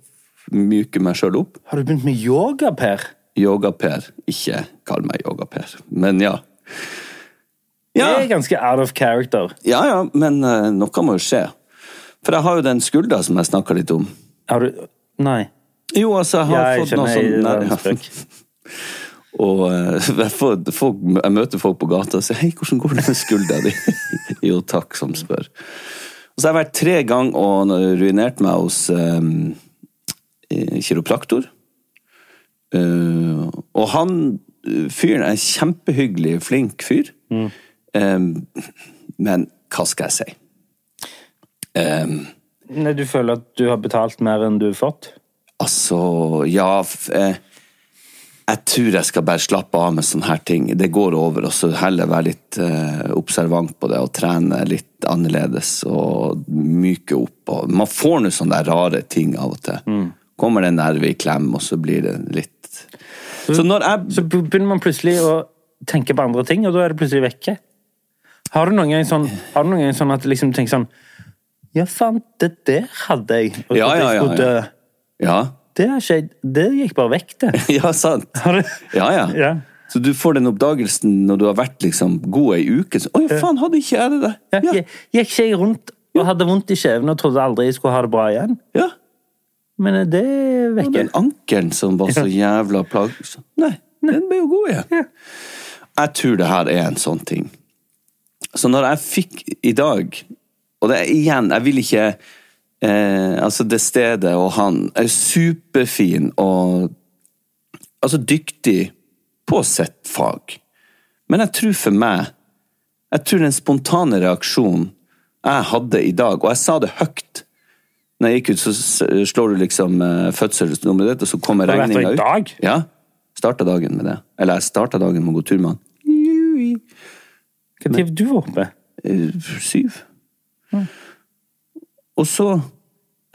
Speaker 6: myke meg sjøl opp.
Speaker 5: Har du begynt med yoga, Per?
Speaker 6: Yoga-Per. Ikke kall meg Yoga-Per, men ja.
Speaker 5: Det er ganske out of character.
Speaker 6: Ja, ja, men eh, noe må jo skje. For jeg har jo den skulda som jeg snakka litt om.
Speaker 5: Har du Nei.
Speaker 6: Jo, altså, jeg har
Speaker 5: Jeg
Speaker 6: fått noe
Speaker 5: skjønner,
Speaker 6: sånn
Speaker 5: jeg-
Speaker 6: nei, ja.
Speaker 5: spøk.
Speaker 6: Og eh, jeg, får, folk, jeg møter folk på gata og sier 'Hei, hvordan går det med skulda di?' jo, takk, som spør. Og så har jeg vært tre ganger og ruinert meg hos eh, eh, kiropraktor. Eh, og han eh, fyren er en kjempehyggelig, flink fyr. Eh, men hva skal jeg si? Eh,
Speaker 5: Nei, Du føler at du har betalt mer enn du har fått?
Speaker 6: Altså, ja f- eh, Jeg tror jeg skal bare slappe av med sånne her ting. Det går over, og så heller være litt eh, observant på det og trene litt annerledes og myke opp. Og man får nå sånne der rare ting av og til.
Speaker 5: Mm.
Speaker 6: Kommer det en nerve i klem, og så blir det litt Så når jeg
Speaker 5: Så be- begynner man plutselig å tenke på andre ting, og da er det plutselig vekke. Har du noen gang sånn, har du noen gang sånn at liksom du tenker sånn Ja, faen, det der hadde jeg. Og at
Speaker 6: Ja, ja,
Speaker 5: jeg
Speaker 6: ja,
Speaker 5: skulle
Speaker 6: ja.
Speaker 5: dø.
Speaker 6: Ja,
Speaker 5: Det har ikke jeg Det gikk bare vekk, det.
Speaker 6: ja sant.
Speaker 5: Har du
Speaker 6: Ja, ja.
Speaker 5: Ja.
Speaker 6: Så du får den oppdagelsen når du har vært liksom god ei uke. Så, 'Å ja, faen, hadde ikke jeg det der?'
Speaker 5: Ja, jeg- Gikk ikke jeg rundt og hadde vondt i kjeven og trodde aldri jeg skulle ha det bra igjen?
Speaker 6: ja.
Speaker 5: Men eh, det er
Speaker 6: Og den
Speaker 5: vekke.
Speaker 6: ankelen som var så jævla plagsom Nei, den ble jo god igjen. Jeg tror det her er en sånn ting. Så når jeg fikk i dag Og det er igjen, jeg vil ikke eh, Altså, det stedet og han er superfin og Altså dyktig på sitt fag. Men jeg tror for meg Jeg tror den spontane reaksjonen jeg hadde i dag, og jeg sa det høyt når jeg gikk ut, så s- slår du liksom eh, fødselsnummeret ditt, og så kommer
Speaker 5: Var det
Speaker 6: regninga
Speaker 5: etter i
Speaker 6: ut.
Speaker 5: dag?
Speaker 6: Ja. Starta dagen med det. Eller jeg starta dagen med å gå tur med han.
Speaker 5: Hva tid var du oppe?
Speaker 6: Eh, syv. Og så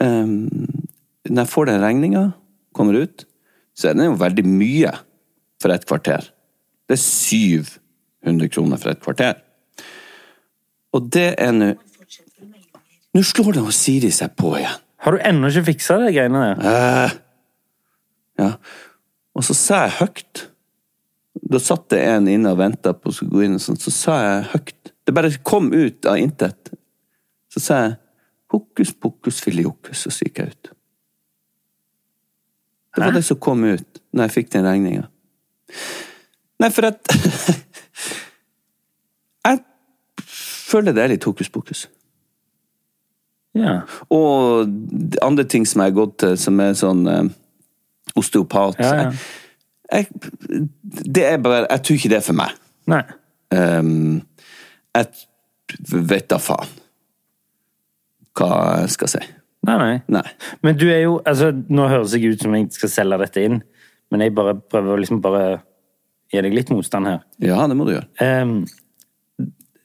Speaker 6: ehm, Når jeg får den regninga, kommer ut, så er den jo veldig mye for et kvarter. Det er 700 kroner for et kvarter. Og det er nå Nå slår det og Siri seg på igjen.
Speaker 5: Har du ennå ikke fiksa de greiene der?
Speaker 6: Ja. Og så sa jeg høyt. Da satt det en inne og venta på å skulle gå inn, og sånt, så sa jeg høyt. Det bare kom ut av intet. Så sa jeg hokus pokus filiokus, og så gikk jeg ut. Det var det som kom ut når jeg fikk den regninga. Nei, for at Jeg føler det er litt hokus pokus.
Speaker 5: Ja.
Speaker 6: Og andre ting som jeg har gått til, som er sånn eh, osteopat.
Speaker 5: Ja, ja.
Speaker 6: Jeg, det er bare, jeg tror ikke det er for meg.
Speaker 5: Nei.
Speaker 6: Ehm, jeg vet da faen hva jeg skal si.
Speaker 5: Nei, nei.
Speaker 6: Nei.
Speaker 5: Men du er jo altså, Nå høres jeg ut som jeg skal selge dette inn, Men jeg bare prøver å liksom bare gi deg litt motstand her.
Speaker 6: Ja, det må du gjøre.
Speaker 5: Ehm,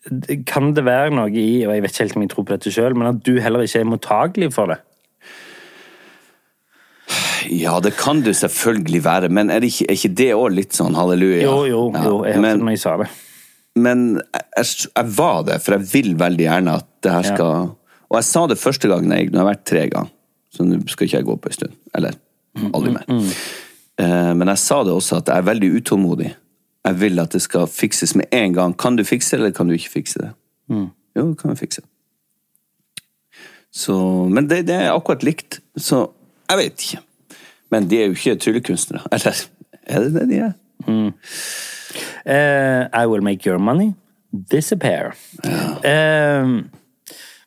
Speaker 5: d- kan det være noe i, og jeg vet ikke helt om jeg tror på dette sjøl, men at du heller ikke er mottagelig for det?
Speaker 6: Ja, det kan du selvfølgelig være, men er, det ikke, er ikke det òg litt sånn halleluja?
Speaker 5: Jo, jo,
Speaker 6: Ja,
Speaker 5: jo jeg hørte
Speaker 6: men,
Speaker 5: når jeg sa det.
Speaker 6: men jeg, jeg, jeg var det, for jeg vil veldig gjerne at det her
Speaker 5: Ja.
Speaker 6: skal Og jeg sa det første gangen jeg Nå har jeg vært tre ganger, så nå skal ikke jeg gå på en stund. Eller aldri mer. Eh, Men jeg sa det også, at jeg er veldig utålmodig. Jeg vil at det skal fikses med en gang. Kan du fikse det, eller kan du ikke fikse det? Jo, kan jeg fikse det. Så, men det, det er akkurat likt, så jeg vet ikke. Men de er jo ikke tryllekunstnere. Eller er det det de er?
Speaker 5: Eh, I will make your money disappear. Ehm,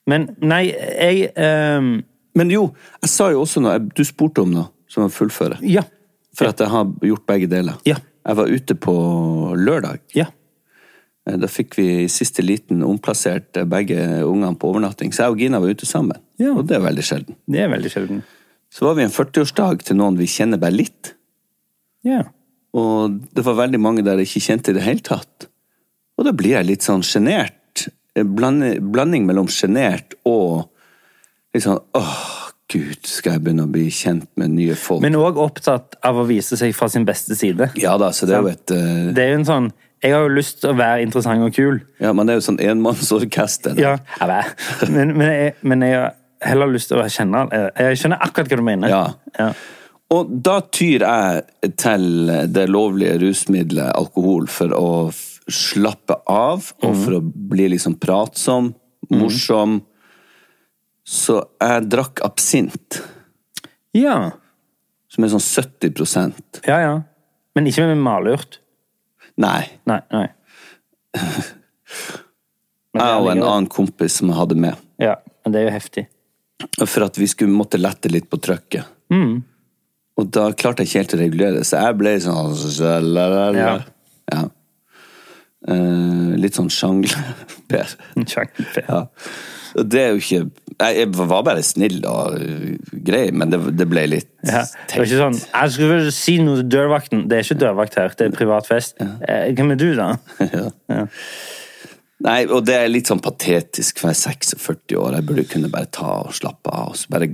Speaker 5: men nei, jeg ehm,
Speaker 6: Men jo, jeg sa jo også noe jeg- Du spurte om noe som jeg fullfører.
Speaker 5: Ja.
Speaker 6: For at jeg har gjort begge deler.
Speaker 5: Ja.
Speaker 6: Jeg var ute på lørdag.
Speaker 5: Ja.
Speaker 6: Eh, Da fikk vi i siste liten omplassert eh, begge ungene på overnatting. Så jeg og Gina var ute sammen.
Speaker 5: Ja.
Speaker 6: Og det er veldig sjelden.
Speaker 5: Det er veldig sjelden.
Speaker 6: Så var vi en 40-årsdag til noen vi kjenner bare litt.
Speaker 5: Ja.
Speaker 6: Og det var veldig mange der jeg ikke kjente i det hele tatt. Og da blir jeg litt sånn sjenert. En blanding, blanding mellom sjenert og litt sånn åh, gud, skal jeg begynne å bli kjent med nye folk?
Speaker 5: Men òg opptatt av å vise seg fra sin beste side.
Speaker 6: ja da, så det er jo et eh,
Speaker 5: Det er jo en sånn Jeg har jo lyst til å være interessant og kul.
Speaker 6: Ja, men det er jo sånn enmannsorkester. da.
Speaker 5: Ja, jeg vet. men, men, jeg, men jeg har heller lyst til å kjenne jeg- Jeg skjønner akkurat hva du mener.
Speaker 6: Ja.
Speaker 5: Ja.
Speaker 6: Og da tyr jeg til det lovlige rusmiddelet alkohol for å f- slappe av,
Speaker 5: Mhm.
Speaker 6: og for å bli liksom pratsom, morsom. Så jeg drakk absint,
Speaker 5: ja.
Speaker 6: som er sånn 70
Speaker 5: Ja, ja. Men ikke med malurt.
Speaker 6: Nei.
Speaker 5: Nei. nei. Men det
Speaker 6: Jeg og
Speaker 5: er
Speaker 6: en
Speaker 5: likevel-
Speaker 6: annen kompis som jeg hadde med.
Speaker 5: Ja, men det er jo heftig.
Speaker 6: For at vi skulle måtte lette litt på trykket.
Speaker 5: Mm.
Speaker 6: Og da klarte jeg ikke helt å regulere det, så jeg ble sånn ja.
Speaker 5: Ja.
Speaker 6: Eh, Litt sånn sjangler-Per.
Speaker 5: Sjangerfest.
Speaker 6: Ja. Og det er jo ikke Jeg, jeg var bare snill og øh, grei, men det, det ble litt
Speaker 5: Ja. Det er ikke
Speaker 6: teit.
Speaker 5: sånn 'Jeg skulle vel si noe til dørvakten.' Det er ikke dørvakt her, det er privat fest. Eh, Hvem er du, da?
Speaker 6: Nei, og det er litt sånn patetisk, for jeg er 46 år. Jeg burde kunne bare ta og slappe av. Og så bare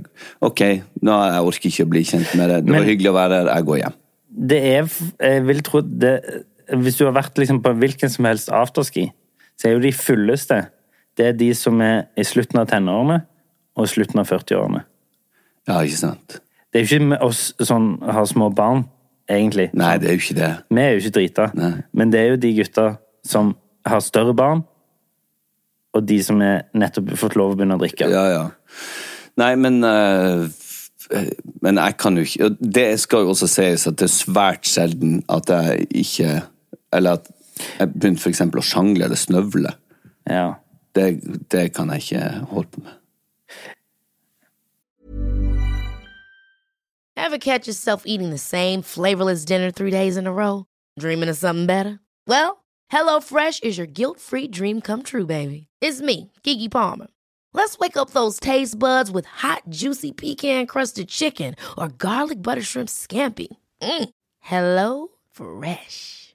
Speaker 6: OK, nå jeg orker ikke å bli kjent med det. Det var
Speaker 5: Men-
Speaker 6: hyggelig å være her. Jeg går hjem.
Speaker 5: Det er f- Jeg vil tro at det Hvis du har vært liksom på hvilken som helst afterski, så er jo de fulleste Det er de som er i slutten av tenårene og slutten av 40-årene.
Speaker 6: Ja, ikke sant?
Speaker 5: Det er jo ikke med oss som har små barn, egentlig.
Speaker 6: Nei, det er jo ikke det.
Speaker 5: Vi er jo ikke drita.
Speaker 6: Nei.
Speaker 5: Men det er jo de gutta som har større barn, og de som er nettopp fått lov å begynne å drikke.
Speaker 6: Ja, ja. Nei, men øh, f- Men jeg kan jo ikke og Det skal jo også sies at det er svært sjelden at jeg ikke Eller at jeg begynte for eksempel å sjangle eller snøvle.
Speaker 5: Ja.
Speaker 6: Det, det kan jeg ikke holde på med.
Speaker 1: Ever catch yourself eating the same flavorless dinner three days in a row? Dreaming of something better? Well, HelloFresh is your guilt free dream come true, baby. It's me, Gigi Palmer. Let's wake up those taste buds with hot, juicy pecan crusted chicken or garlic butter shrimp scampi. Mm. Hello Fresh.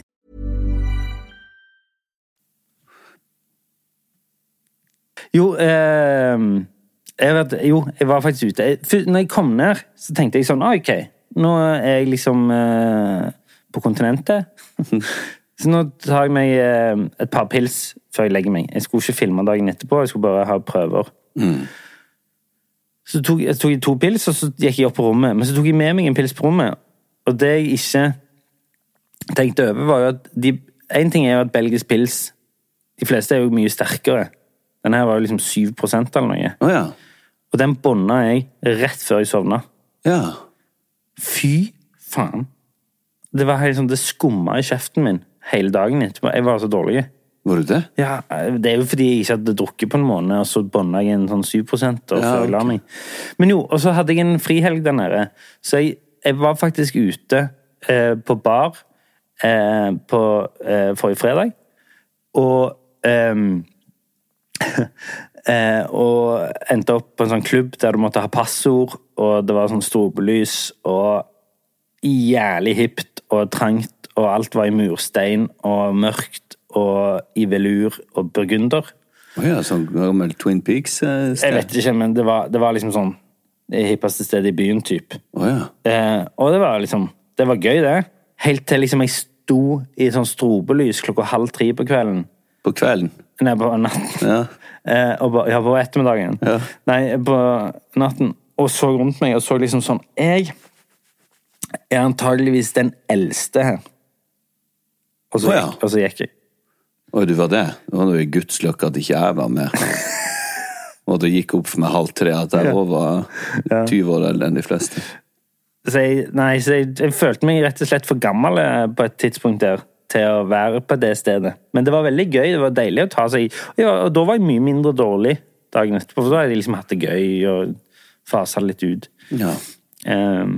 Speaker 5: Jo, eh, jeg vet, jo, jeg var faktisk ute. Jeg- fyr- Når jeg kom ned, så tenkte jeg sånn ah, OK, nå er jeg liksom eh, på kontinentet. så nå tar jeg meg eh, et par pils før jeg legger meg. Jeg skulle ikke filme dagen etterpå, jeg skulle bare ha prøver. Så tok, jeg tok jeg to pils, og så gikk jeg opp på rommet. Men så tok jeg med meg en pils på rommet. Og det jeg ikke tenkte over, var jo at de, En ting er jo at belgisk pils De fleste er jo mye sterkere. Den her var jo liksom 7 eller noe. Og den bånda jeg rett før jeg sovna. Fy faen. Det var helt sånn, det skumma i kjeften min hele dagen etterpå. Jeg var så dårlig.
Speaker 6: Var du det?
Speaker 5: Ja, Det er jo fordi jeg ikke hadde drukket på en måned, og så bånda jeg en sånn 7 og før
Speaker 6: Ja,
Speaker 5: jeg la meg. Men jo, og så hadde jeg en frihelg der nede, så jeg, jeg var faktisk ute eh, på bar eh, på eh, forrige fredag, og ehm, eh, og endte opp på en sånn klubb der du måtte ha passord, og det var sånn strobelys, og jævlig hipt og trangt, og alt var i murstein og mørkt og i velur og burgunder.
Speaker 6: Å ja, sånn gammel Twin eh, Peaks-sted?
Speaker 5: Jeg vet ikke, men det var, det var liksom sånn det hippeste stedet i byen, typ.
Speaker 6: Å ja.
Speaker 5: Eh, og det var liksom Det var gøy, det. Helt til liksom jeg sto i sånn strobelys klokka halv tre på kvelden.
Speaker 6: På kvelden?
Speaker 5: Nei, på natten. Eh, og ba, ja, på ettermiddagen. Nei, på natten. Og så rundt meg og så liksom sånn Jeg er antageligvis den eldste her. Og så,
Speaker 6: Å ja.
Speaker 5: gikk, og så gikk jeg.
Speaker 6: Å, du var det? Det var noe i Guds løkke at ikke jeg var med. Og det gikk opp for meg halv tre at jeg også var 20 år eldre enn de fleste.
Speaker 5: Så jeg, nei, så jeg, jeg følte meg rett og slett for gammel eh, på et tidspunkt der til å være på det stedet. Men det var veldig gøy. Det var deilig å ta seg i. Ja, og da var jeg mye mindre dårlig dagen etterpå, for da hadde jeg liksom hatt det gøy og fasa litt ut.
Speaker 6: Ja.
Speaker 5: Ehm,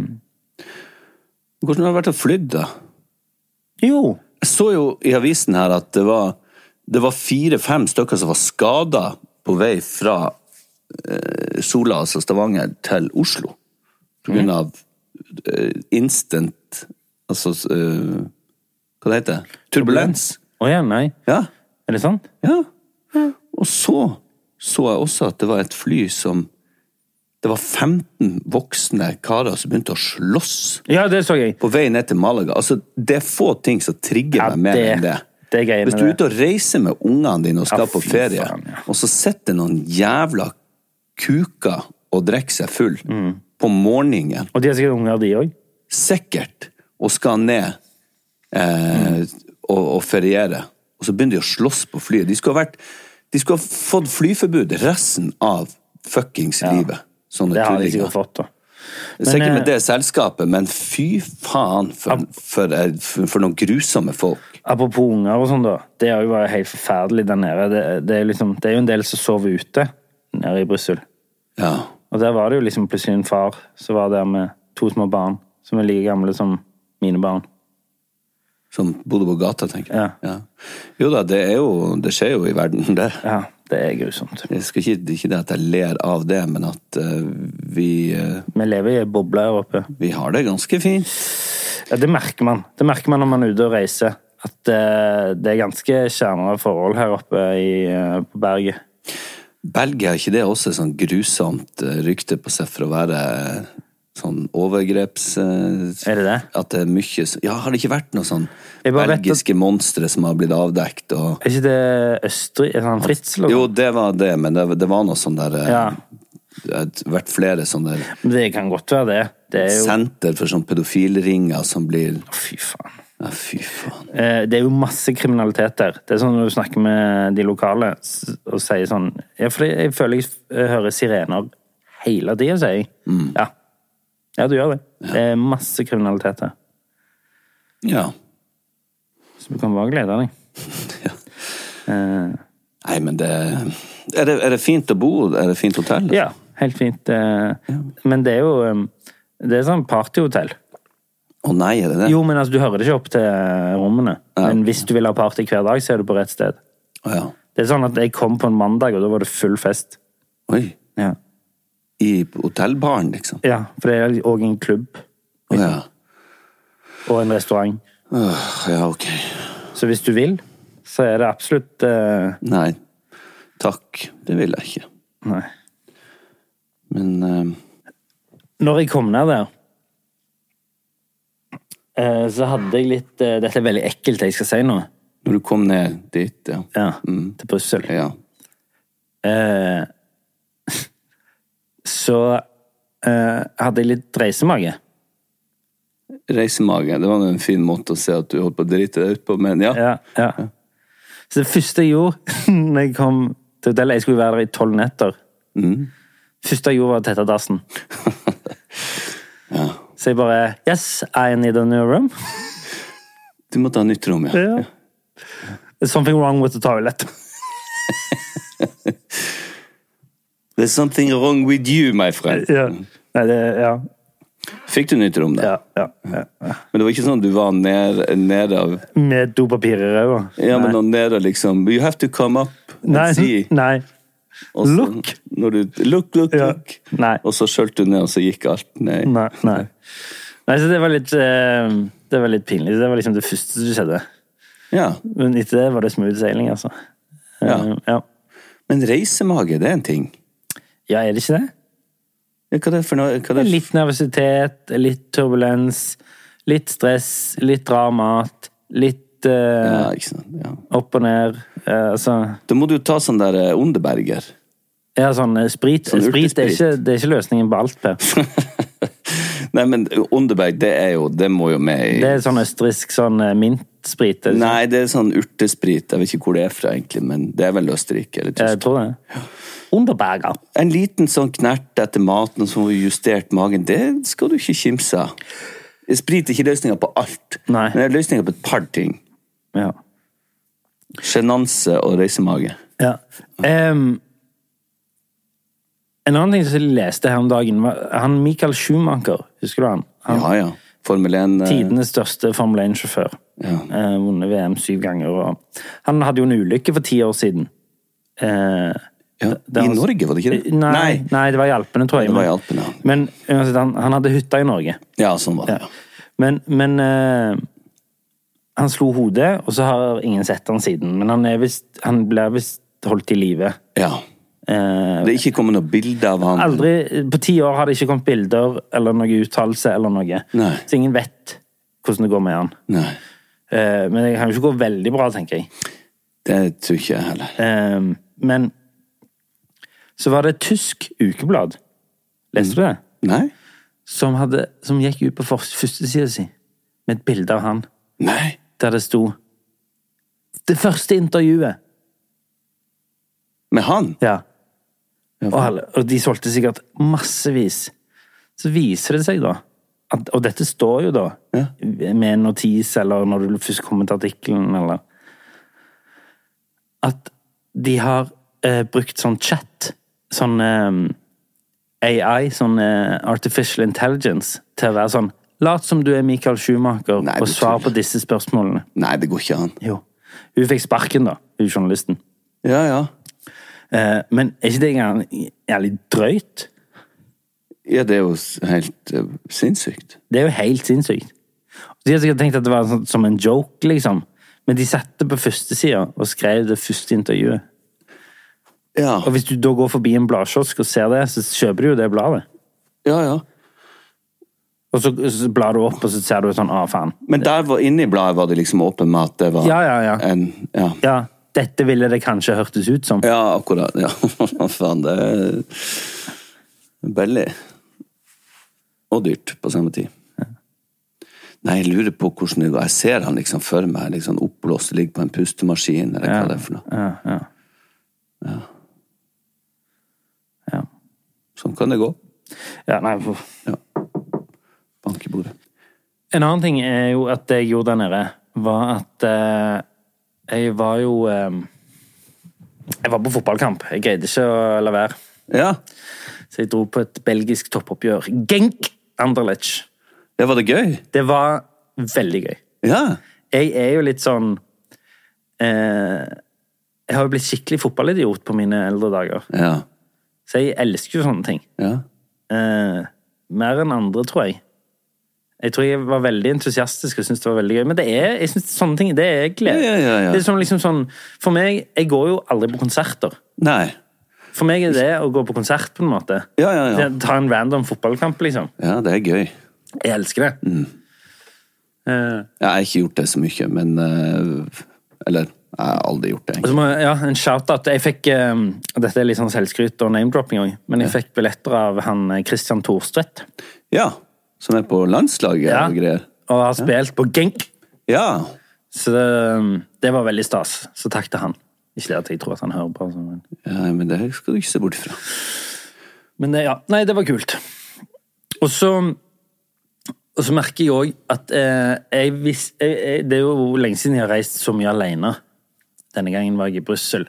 Speaker 6: Hvordan har det vært å fly, da?
Speaker 5: jo.
Speaker 6: Jeg så jo i avisen her at det var, det var fire-fem stykker som var skada på vei fra eh, Sola, altså Stavanger, til Oslo. På grunn av eh, instant Altså eh, Hva det heter det? Turbulens.
Speaker 5: Å ja, nei.
Speaker 6: Ja.
Speaker 5: Er det sant?
Speaker 6: Ja. Og så så jeg også at det var et fly som Det var 15 voksne karer som begynte å slåss
Speaker 5: Ja, det så jeg.
Speaker 6: på vei ned til Malaga. Altså, det er få ting som trigger
Speaker 5: Ja,
Speaker 6: meg mer
Speaker 5: det-
Speaker 6: enn det.
Speaker 5: det er greiene
Speaker 6: Hvis du er
Speaker 5: det.
Speaker 6: ute og reiser med ungene dine og skal
Speaker 5: Ja,
Speaker 6: på
Speaker 5: fy
Speaker 6: ferie,
Speaker 5: faen, ja.
Speaker 6: og så sitter noen jævla kuker og drikker seg full
Speaker 5: Mm.
Speaker 6: på morgenen,
Speaker 5: Og de har sikkert unger, de òg.
Speaker 6: sikkert, og skal ned eh, og, og feriere, og så begynner de å slåss på flyet. De skulle ha vært de skulle ha fått flyforbud resten av fuckings livet. Sånne
Speaker 5: Det har de
Speaker 6: tullinger.
Speaker 5: sikkert fått, da.
Speaker 6: Sikkert
Speaker 5: eh,
Speaker 6: med det selskapet, men fy faen for, for, for, for noen grusomme folk.
Speaker 5: Apropos unger og sånn, da. Det er jo bare helt forferdelig der nede. Det, det, er, liksom, det er jo en del som sover ute nede i Brussel.
Speaker 6: Ja.
Speaker 5: Og der var det jo liksom plutselig en far som var der med to små barn som er like gamle som mine barn.
Speaker 6: Som bodde på gata, tenker
Speaker 5: Ja.
Speaker 6: jeg. Ja. Jo da, det, er jo, det skjer jo i verden, det.
Speaker 5: Ja, det er grusomt.
Speaker 6: Jeg skal ikke, det er ikke det at jeg ler av det, men at eh, vi, eh,
Speaker 5: Vi lever i ei boble her oppe.
Speaker 6: vi har det ganske fint.
Speaker 5: Ja, det merker man. Det merker man når man er ute og reiser. At eh, det er ganske skjermede forhold her oppe i, eh, på berget.
Speaker 6: Belgia, er ikke det også et sånn grusomt eh, rykte på seg for å være eh, sånn overgreps... eh,
Speaker 5: Er det det?
Speaker 6: At det er mye s- Ja, har det ikke vært noe sånn
Speaker 5: Jeg bare vet at-
Speaker 6: belgiske monstre som har blitt avdekt og
Speaker 5: Er ikke det Østerrike? Er det han Fritzel?
Speaker 6: Jo, det var det, men det, det var noe sånn der eh,
Speaker 5: Ja.
Speaker 6: Det har vært flere sånne der
Speaker 5: Men Det kan godt være det. Det er jo
Speaker 6: senter for sånn pedofilringer som blir
Speaker 5: Fy faen.
Speaker 6: Ja, fy faen.
Speaker 5: Eh, Det er jo masse kriminalitet der. Det er sånn Når du snakker med de lokale s- og sier sånn ja, for Jeg jeg føler jeg f- eh, hører sirener hele tida, sier jeg. Ja. Mm. ja, du gjør det. Det er masse kriminalitet der.
Speaker 6: Ja.
Speaker 5: Så du kan bare glede deg.
Speaker 6: Nei, men det er, det er det fint å bo? Er det fint hotell?
Speaker 5: Ja, helt fint. eh, Men det er jo eh, Det er sånn partyhotell.
Speaker 6: Å nei, er det det?
Speaker 5: Jo, men altså, du hører det ikke opp til eh, rommene. Men hvis du vil ha party hver dag, så er du på rett sted.
Speaker 6: Å, ja.
Speaker 5: Det er sånn at jeg kom på en mandag, og da var det full fest.
Speaker 6: Oi.
Speaker 5: Ja,
Speaker 6: I hotellbaren, liksom?
Speaker 5: ja for det er òg en klubb.
Speaker 6: Å ja.
Speaker 5: og en restaurant.
Speaker 6: Øh, ja, ok.
Speaker 5: Så hvis du vil, så er det absolutt eh,
Speaker 6: Nei. Takk. Det vil jeg ikke.
Speaker 5: Nei.
Speaker 6: Men eh,
Speaker 5: Når jeg kom ned der, eh, så hadde jeg litt eh, Dette er veldig ekkelt, det jeg skal si nå.
Speaker 6: når du kom ned dit, ja.
Speaker 5: Ja, Til Brussel.
Speaker 6: ja.
Speaker 5: Eh, så eh, hadde jeg litt reisemage.
Speaker 6: Reisemage. Det var nå en fin måte å se at du holdt på å drite deg ut på, men ja.
Speaker 5: Ja, ja. Så det første jeg gjorde når jeg kom til hotellet Jeg skulle være der i tolv netter. Mm. første jeg gjorde, var å tette dassen. Så jeg bare Yes, I need a new room.
Speaker 6: Du måtte ha nytt rom, ja.
Speaker 5: Ja. There's something wrong with the toilet.
Speaker 6: There's something wrong with you, my friend.
Speaker 5: ja. Nei, det, ja.
Speaker 6: Fikk du nytt rom, da?
Speaker 5: Mm. eh. Ja, ja, ja.
Speaker 6: Men det var ikke sånn at du var ned, ned av
Speaker 5: Med dopapir i ræva.
Speaker 6: Ja, men
Speaker 5: Nei.
Speaker 6: noen ned av liksom You have to come up and
Speaker 5: Nei,
Speaker 6: see.
Speaker 5: nei.
Speaker 6: Og så,
Speaker 5: Look.
Speaker 6: Når du, look, look,
Speaker 5: Ja.
Speaker 6: look.
Speaker 5: Nei.
Speaker 6: Og så skjølte du ned, og så gikk alt ned.
Speaker 5: Nei, nei. Nei, så det var litt eh, Det var litt pinlig. Det var liksom det første som skjedde.
Speaker 6: Ja.
Speaker 5: Men etter det var det smooth sailing, altså. Eh,
Speaker 6: Ja.
Speaker 5: ja.
Speaker 6: Men reisemage, det er en ting.
Speaker 5: Ja, er det ikke det?
Speaker 6: Ja, Hva er det for noe? Hva er det?
Speaker 5: Litt nervøsitet, litt turbulens, litt stress, litt dramat, litt eh,
Speaker 6: Ja, ikke sant. Ja.
Speaker 5: opp og ned. Eh, altså
Speaker 6: Da må du jo ta sånn der eh, Underberger.
Speaker 5: Ja, sånn eh, sprit.
Speaker 6: Sånn
Speaker 5: sprit er
Speaker 6: urtesprit.
Speaker 5: ikke, det er ikke løsningen på alt, Per.
Speaker 6: Nei, men eh, Underberg, det er jo Det må jo med i
Speaker 5: Det er sånn østerriksk sånn eh, mintsprit. er det ikke?
Speaker 6: Nei, det er sånn urtesprit. Jeg vet ikke hvor det er fra, egentlig, men det er vel Østerrike eller
Speaker 5: Jeg
Speaker 6: Tyskland.
Speaker 5: tror Eh, det. Underberger.
Speaker 6: En liten sånn knert etter maten som får justert magen, det skal du ikke kimse av. Sprit er ikke løsninga på alt,
Speaker 5: Nei.
Speaker 6: men det er løsninga på et par ting.
Speaker 5: Ja.
Speaker 6: Sjenanse og reisemage.
Speaker 5: Ja. Em, en annen ting som jeg leste her om dagen, var han Michael Schumacher. Husker du han? han
Speaker 6: Ja, ja. Formel 1 eh,
Speaker 5: Tidenes største Formel 1-sjåfør.
Speaker 6: Ja.
Speaker 5: Eh, vunnet VM syv ganger. Og han hadde jo en ulykke for ti år siden. Eh,
Speaker 6: ja.
Speaker 5: der
Speaker 6: I
Speaker 5: han-
Speaker 6: Norge, var det ikke det?
Speaker 5: Nei, nei. det var i Alpene, tror jeg.
Speaker 6: Det var i
Speaker 5: men-
Speaker 6: Alpene, ja.
Speaker 5: Men uansett, han, han hadde hytta i Norge.
Speaker 6: Ja, sånn var det.
Speaker 5: Ja.
Speaker 6: ja.
Speaker 5: Men, men eh, han slo hodet, og så har ingen sett han siden. Men han, er visst, han blir visst holdt i live.
Speaker 6: Ja.
Speaker 5: Eh,
Speaker 6: Det er ikke kommet noe bilde av han.
Speaker 5: aldri, på ti år har det ikke kommet bilder eller noen uttalelse eller noe.
Speaker 6: Nei.
Speaker 5: Så ingen vet hvordan det går med han.
Speaker 6: Nei.
Speaker 5: Eh, men det kan jo ikke gå veldig bra, tenker jeg.
Speaker 6: Det tror ikke jeg heller.
Speaker 5: Eh, men så var det et tysk ukeblad, leste du det,
Speaker 6: Nei?
Speaker 5: som, hadde, som gikk ut på fors- førstesida si med et bilde av han.
Speaker 6: Nei.
Speaker 5: der det sto Det første intervjuet.
Speaker 6: Med han?
Speaker 5: Ja. Og, alle, og de solgte sikkert massevis. Så viser det seg, da at, Og dette står jo, da,
Speaker 6: Ja.
Speaker 5: med en notis eller når du først kommer til artikkelen, eller At de har eh, brukt sånn chat, sånn eh, AI, sånn eh, artificial intelligence, til å være sånn Lat som du er Michael Schumacher,
Speaker 6: Nei,
Speaker 5: og
Speaker 6: du
Speaker 5: svar
Speaker 6: tuller.
Speaker 5: på disse spørsmålene.
Speaker 6: Nei, det går ikke an.
Speaker 5: Jo. Hun fikk sparken, da, hun journalisten.
Speaker 6: Ja, ja.
Speaker 5: Eh, men er ikke det jævlig jævlig drøyt?
Speaker 6: Ja, det er jo s- helt eh, sinnssykt.
Speaker 5: Det er jo helt sinnssykt. De hadde sikkert tenkt at det var sånn, som en joke, liksom. Men de satte på førstesida og skrev det første intervjuet.
Speaker 6: Ja,
Speaker 5: Og hvis du da går forbi en bladkiosk og ser det, så kjøper du jo det bladet.
Speaker 6: ja. ja.
Speaker 5: Og så, så blar du opp, og så ser du sånn Å, faen.
Speaker 6: Men der var, inne i bladet var det liksom åpen med at det var
Speaker 5: Ja, ja, ja.
Speaker 6: en Ja,
Speaker 5: Ja, dette ville det kanskje hørtes ut som.
Speaker 6: ja akkurat. Ja, faen, det er billig. Og dyrt på samme tid. Nei, jeg lurer på hvordan det går. Jeg ser han liksom for meg. liksom Oppblåst, ligger på en pustemaskin, eller hva det er for noe.
Speaker 5: Ja, ja. Ja.
Speaker 6: Sånn kan det gå.
Speaker 5: ja nei, for...
Speaker 6: Bank i bordet.
Speaker 5: En annen ting er jo at det jeg gjorde der nede, var at eh, jeg var jo eh, Jeg var på fotballkamp. Jeg greide ikke å la være.
Speaker 6: Ja.
Speaker 5: Så jeg dro på et belgisk toppoppgjør. Genk Anderlecht.
Speaker 6: ja, var det gøy?
Speaker 5: Det var veldig gøy.
Speaker 6: Ja.
Speaker 5: Jeg er jo litt sånn eh, Jeg har jo blitt skikkelig fotballidiot på mine eldre dager.
Speaker 6: Ja.
Speaker 5: Så jeg elsker jo sånne ting.
Speaker 6: ja.
Speaker 5: Eh, mer enn andre, tror jeg. Jeg tror jeg var veldig entusiastisk og syntes det var veldig gøy. Men det er, jeg synes sånne ting det er glede.
Speaker 6: Ja, ja, ja, ja.
Speaker 5: Det er som liksom sånn, For meg Jeg går jo aldri på konserter.
Speaker 6: Nei.
Speaker 5: For meg er det å gå på konsert, på en måte.
Speaker 6: Ja, ja, ja.
Speaker 5: Det- Ta en random fotballkamp, liksom.
Speaker 6: Ja, det er gøy.
Speaker 5: Jeg elsker det.
Speaker 6: Mm.
Speaker 5: Eh,
Speaker 6: Jeg har ikke gjort det så mye, men eh, Eller, jeg har aldri gjort det.
Speaker 5: og så
Speaker 6: egentlig.
Speaker 5: må, jeg- ja, en shout-out. Jeg fikk eh, Dette er litt sånn selvskryt og name-dropping òg, men jeg fikk billetter av han eh, Christian Thorstvedt.
Speaker 6: Ja. Som er på landslaget
Speaker 5: Ja.
Speaker 6: og greier.
Speaker 5: Og har spilt på Genk.
Speaker 6: Ja.
Speaker 5: Så det, eh, det var veldig stas. Så takk til han. Ikke det at jeg tror at han hører på. altså, Men,
Speaker 6: ja, men det skal du ikke se bort ifra.
Speaker 5: men det, ja. Nei, det var kult. Og så og så merker jeg òg at eh, jeg, vis- jeg, jeg, Det er jo lenge siden jeg har reist så mye alene. Denne gangen var jeg i Brussel.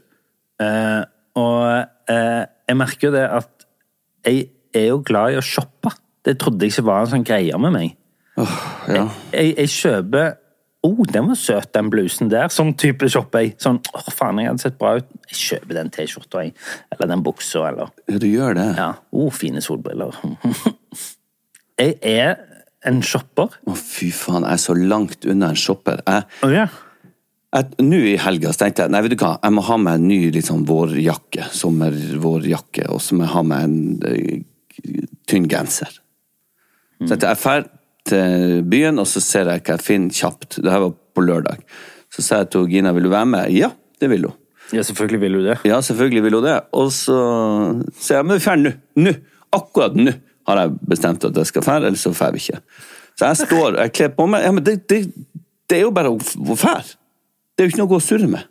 Speaker 5: Eh, og eh, jeg merker jo det at jeg er jo glad i å shoppe. Det trodde jeg ikke var en sånn greie med meg.
Speaker 6: Ja.
Speaker 5: jeg, jeg kjøper Å, oh, den var søt, den blusen der. Sånn type shopper jeg. Sånn, åh, faen, jeg hadde sett bra ut. Jeg kjøper den T-skjorta, jeg. Eller den buksa, eller
Speaker 6: ja, du gjør det.
Speaker 5: Ja, oh, fine solbriller. jeg er en shopper.
Speaker 6: Å, fy faen, jeg er så langt unna en shopper. Jeg,
Speaker 5: Oh, ja.
Speaker 6: jeg, nå i helga så tenkte jeg nei, vet du hva, jeg må ha med en ny litt sånn vårjakke. Sommer-vårjakke. Og så må jeg ha med en eh, tynn genser. Så tenkte jeg jeg drar til byen, og så ser jeg hva jeg finner kjapt. Det her var på lørdag. Så sa jeg til Gina vil du være med. Ja, det vil hun.
Speaker 5: selvfølgelig vil du det.
Speaker 6: Ja, selvfølgelig vil hun det. Og så sier jeg men vi drar nå. Nå! Akkurat nå har jeg bestemt at jeg skal dra, ellers så drar vi ikke. Så jeg står og jeg kler på meg. Ja, men det, det, det er jo bare å f- å dra. Det er jo ikke noe å gå og surre med.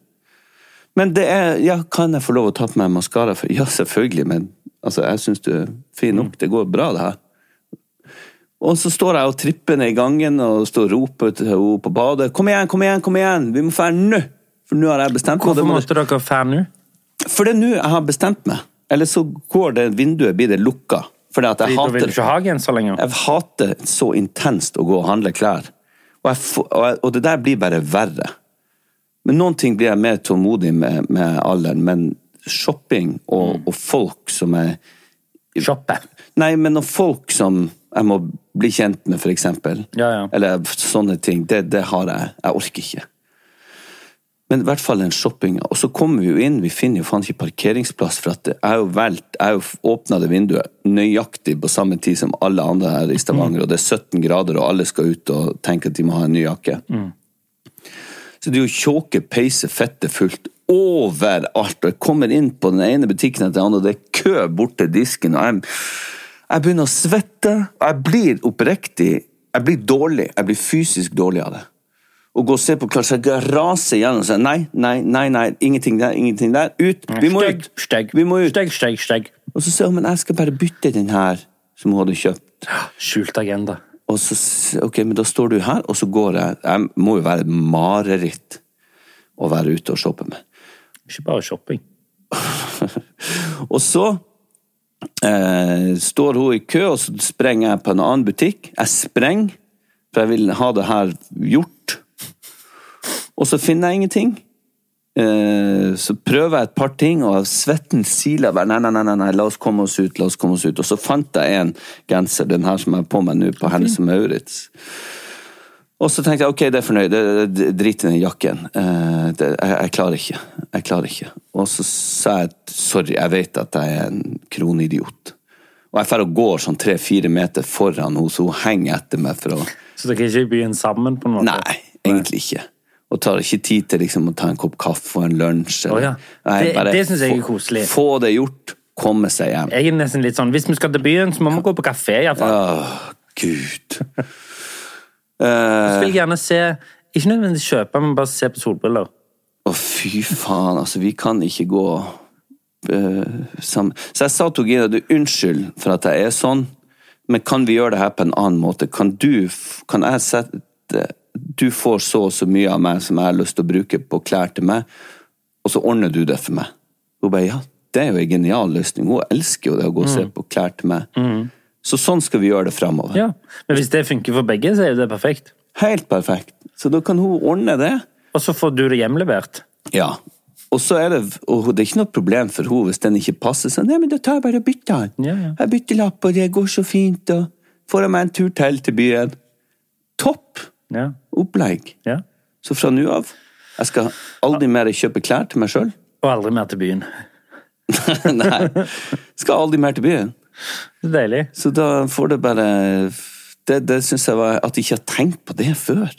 Speaker 6: Men det er Ja, kan jeg få lov å ta på meg maskara? For- Ja, selvfølgelig, men altså, jeg syns du er fin nok. Det går bra, det her. Og så står jeg og tripper ned i gangen og står og roper til henne på badet. Kom igjen, kom igjen, kom igjen! Vi må dra nå! For nå har jeg bestemt meg. og det
Speaker 5: Hvorfor
Speaker 6: må du-
Speaker 5: måtte dere fære nå?
Speaker 6: for det er nå jeg har bestemt meg. Eller så går det vinduet blir det lukka. Fordi at
Speaker 5: Fordi
Speaker 6: jeg
Speaker 5: dere vil
Speaker 6: hater,
Speaker 5: ikke ha genser lenger.
Speaker 6: jeg hater så intenst å gå og handle klær. Og, jeg, får- og, jeg, og det der blir bare verre. Men noen ting blir jeg mer tålmodig med, med alderen, men shopping og,
Speaker 5: Mm.
Speaker 6: og folk som er
Speaker 5: Shoppe.
Speaker 6: Nei, men når folk som jeg må bli kjent med, for eksempel,
Speaker 5: Ja, ja.
Speaker 6: eller sånne ting, det, det har jeg. Jeg orker ikke. Men i hvert fall den shoppinga. Og så kommer vi jo inn, vi finner jo faen ikke parkeringsplass, for at det er jo valgt Jeg åpna det vinduet nøyaktig på samme tid som alle andre her i
Speaker 5: Mm.
Speaker 6: Stavanger, og det er 17 grader, og alle skal ut og tenke at de må ha en ny jakke. Så det er jo tjåke, peise, fette fullt overalt. Og jeg kommer inn på den ene butikken etter den andre, og det er kø bort til disken. og jeg... Jeg begynner å svette, og jeg blir oppriktig Jeg blir dårlig. Jeg blir fysisk dårlig av det. Å gå og se på klær, så jeg raser gjennom og sier nei, nei, nei, nei, ingenting der, ingenting der. Ut! Vi må
Speaker 5: Stygg,
Speaker 6: ut!
Speaker 5: stygg,
Speaker 6: Vi må ut.
Speaker 5: stygg, stygg, stygg.
Speaker 6: Og så sier hun, men jeg skal bare bytte den her som hun hadde kjøpt.
Speaker 5: Skjult agenda.
Speaker 6: Og så s- ok, men da står du her, og så går jeg. Jeg må jo være et mareritt å være ute og shoppe med.
Speaker 5: Ikke bare shopping.
Speaker 6: Og så eh, står hun i kø, og så sprenger jeg på en annen butikk. Jeg sprenger, for jeg vil ha det her gjort. Og så finner jeg ingenting. Eh, så prøver jeg et par ting, og svetten siler. Bare, nei, nei, nei, nei, nei, la oss komme oss ut, la oss komme oss ut. Og så fant jeg en genser, den her som jeg har på meg nå, på Hennes og Maurits. Og så tenkte jeg ok, det er fornøyd, det- det- det- drit i den jakken. Eh, det, jeg, jeg klarer ikke. Jeg klarer ikke. Og så sa jeg sorry, jeg vet at jeg er en kronidiot. Og jeg drar og går sånn tre-fire meter foran henne, så hun henger etter meg for å
Speaker 5: Så dere er ikke i byen sammen? på en måte?
Speaker 6: Nei, egentlig ikke. Og tar ikke tid til liksom, å ta en kopp kaffe og en lunsj.
Speaker 5: Å
Speaker 6: eller-
Speaker 5: ja.
Speaker 6: Nei,
Speaker 5: Det-
Speaker 6: bare
Speaker 5: det synes jeg er
Speaker 6: få-
Speaker 5: koselig.
Speaker 6: Få det gjort, komme seg hjem.
Speaker 5: Jeg er nesten litt sånn Hvis vi skal til byen, så må vi gå på kafé, iallfall.
Speaker 6: Åh, Gud. Eh,
Speaker 5: Så vil jeg gjerne se Ikke nødvendigvis kjøpe, men bare se på solbriller.
Speaker 6: Å, fy faen, altså, vi kan ikke gå eh, sammen. Så jeg sa til Gina, du, unnskyld for at jeg er sånn, men kan vi gjøre det her på en annen måte? Kan du, f- kan jeg sette, du får så og så mye av meg som jeg har lyst til å bruke på klær til meg, og så ordner du det for meg. Hun bare, ja, det er jo en genial løsning. Hun elsker jo det å gå og se på klær til meg. Så sånn skal vi gjøre det fremover.
Speaker 5: Ja. Men hvis det funker for begge, så er jo det perfekt.
Speaker 6: Helt perfekt. Så da kan hun ordne det.
Speaker 5: Og så får du det hjemlevert.
Speaker 6: Ja. Og så er det, og det er ikke noe problem for henne hvis den ikke passer. Så, nei, men da tar jeg bare og bytter den.
Speaker 5: Ja, ja.
Speaker 6: Jeg bytter lapp, og det går så fint. Og får jeg meg en tur til til byen. Topp opplegg. Så fra nå av Jeg skal aldri mer kjøpe klær til meg sjøl.
Speaker 5: Og aldri mer til byen.
Speaker 6: Nei. Skal aldri mer til byen.
Speaker 5: Deilig.
Speaker 6: Så da får det bare Det, det syns jeg var At jeg ikke har tenkt på det før.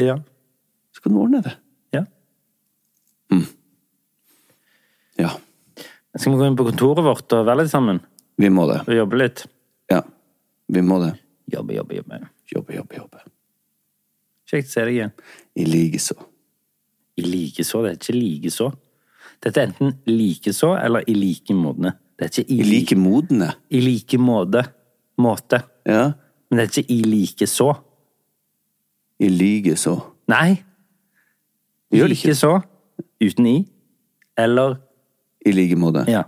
Speaker 5: Ja.
Speaker 6: Så kan du ordne det.
Speaker 5: Ja.
Speaker 6: Mm. Ja.
Speaker 5: Skal vi gå inn på kontoret vårt og være litt sammen?
Speaker 6: Vi må det.
Speaker 5: Og jobbe litt?
Speaker 6: Ja. Vi må det.
Speaker 5: Jobbe, jobbe, jobbe.
Speaker 6: Jobbe, jobbe, jobbe.
Speaker 5: Kjekt å se deg igjen.
Speaker 6: I likeså.
Speaker 5: I likeså. Det er ikke likeså. Dette er enten likeså eller i like modne. Det er ikke
Speaker 6: I like modne.
Speaker 5: I like måte. Måte.
Speaker 6: Ja.
Speaker 5: Men det er ikke i like så.
Speaker 6: I likeså.
Speaker 5: Nei.
Speaker 6: Gjør det ikke.
Speaker 5: Like så. Uten i. Eller
Speaker 6: I like måte.
Speaker 5: Ja.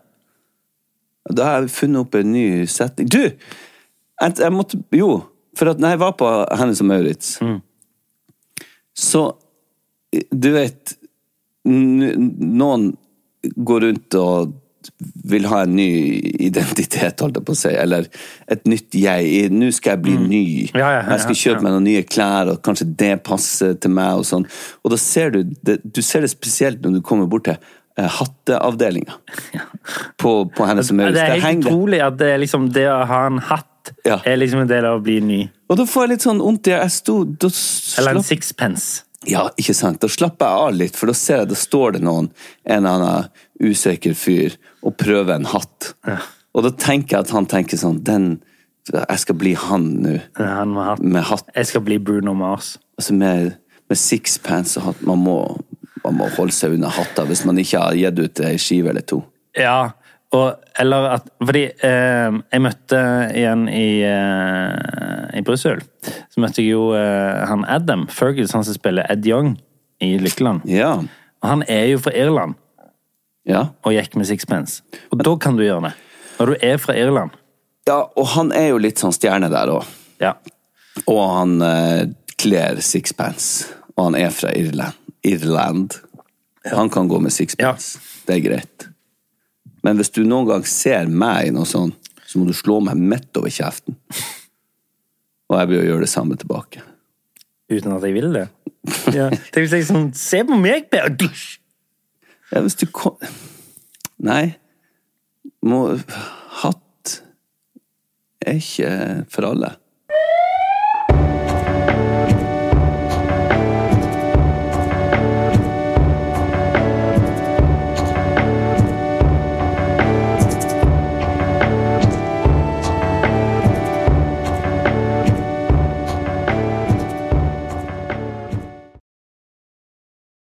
Speaker 6: Da har jeg funnet opp en ny setning. Du! Jeg, jeg måtte Jo, for at når jeg var på Hennes og Maurits,
Speaker 5: Mm.
Speaker 6: så Du vet n- Noen går rundt og vil ha en ny identitet, holdt jeg på å si, eller et nytt jeg. Nå skal jeg bli ny.
Speaker 5: Mm. Ja, ja, ja,
Speaker 6: jeg skal
Speaker 5: ja,
Speaker 6: kjøpe
Speaker 5: ja.
Speaker 6: meg noen nye klær, og kanskje det passer til meg, og sånn. Og da ser du det, du ser det spesielt når du kommer bort til eh, hatteavdelinga på, på Hennes og Maurits.
Speaker 5: Det er
Speaker 6: Der
Speaker 5: helt
Speaker 6: henger det.
Speaker 5: utrolig at det, er liksom, det å ha en hatt
Speaker 6: Ja.
Speaker 5: er liksom en del av å bli ny.
Speaker 6: Og da får jeg litt sånn vondt i Jeg sto da
Speaker 5: Eller en
Speaker 6: slapp,
Speaker 5: sixpence.
Speaker 6: Ja, ikke sant. Da slapper jeg av litt, for da ser jeg da står det noen, en eller annen usikker fyr, og prøver en hatt. Og da tenker jeg at han tenker sånn Den Jeg skal bli han nå.
Speaker 5: Han med hatt.
Speaker 6: Med hatt.
Speaker 5: Jeg skal bli Bruno Mars.
Speaker 6: Altså med, med sixpence og hatt. Man må, man må holde seg unna hatter hvis man ikke har gitt ut ei skive eller to.
Speaker 5: Ja, og, eller at Fordi eh, jeg møtte igjen i, eh, i Brussel Så møtte jeg jo eh, han Adam Fergus, han som spiller Ed Young i Lykkeland.
Speaker 6: Ja.
Speaker 5: Og han er jo fra Irland
Speaker 6: Ja.
Speaker 5: og gikk med sixpence. Og da kan du gjøre det. Når du er fra Irland.
Speaker 6: ja og han er jo litt sånn stjerne der òg.
Speaker 5: Ja.
Speaker 6: Og han eh, kler sixpence. Og han er fra Irland. Irland. Han kan gå med sixpence. Det er greit. Men hvis du noen gang ser meg i noe sånt, så må du slå meg midt over kjeften. Og jeg blir å gjøre det samme tilbake.
Speaker 5: Uten at jeg vil det. Ja. Tenk hvis jeg sånn Se på meg, Per! Dusj!
Speaker 6: Ja, hvis du kom... Nei. Må... Hatt er ikke for alle.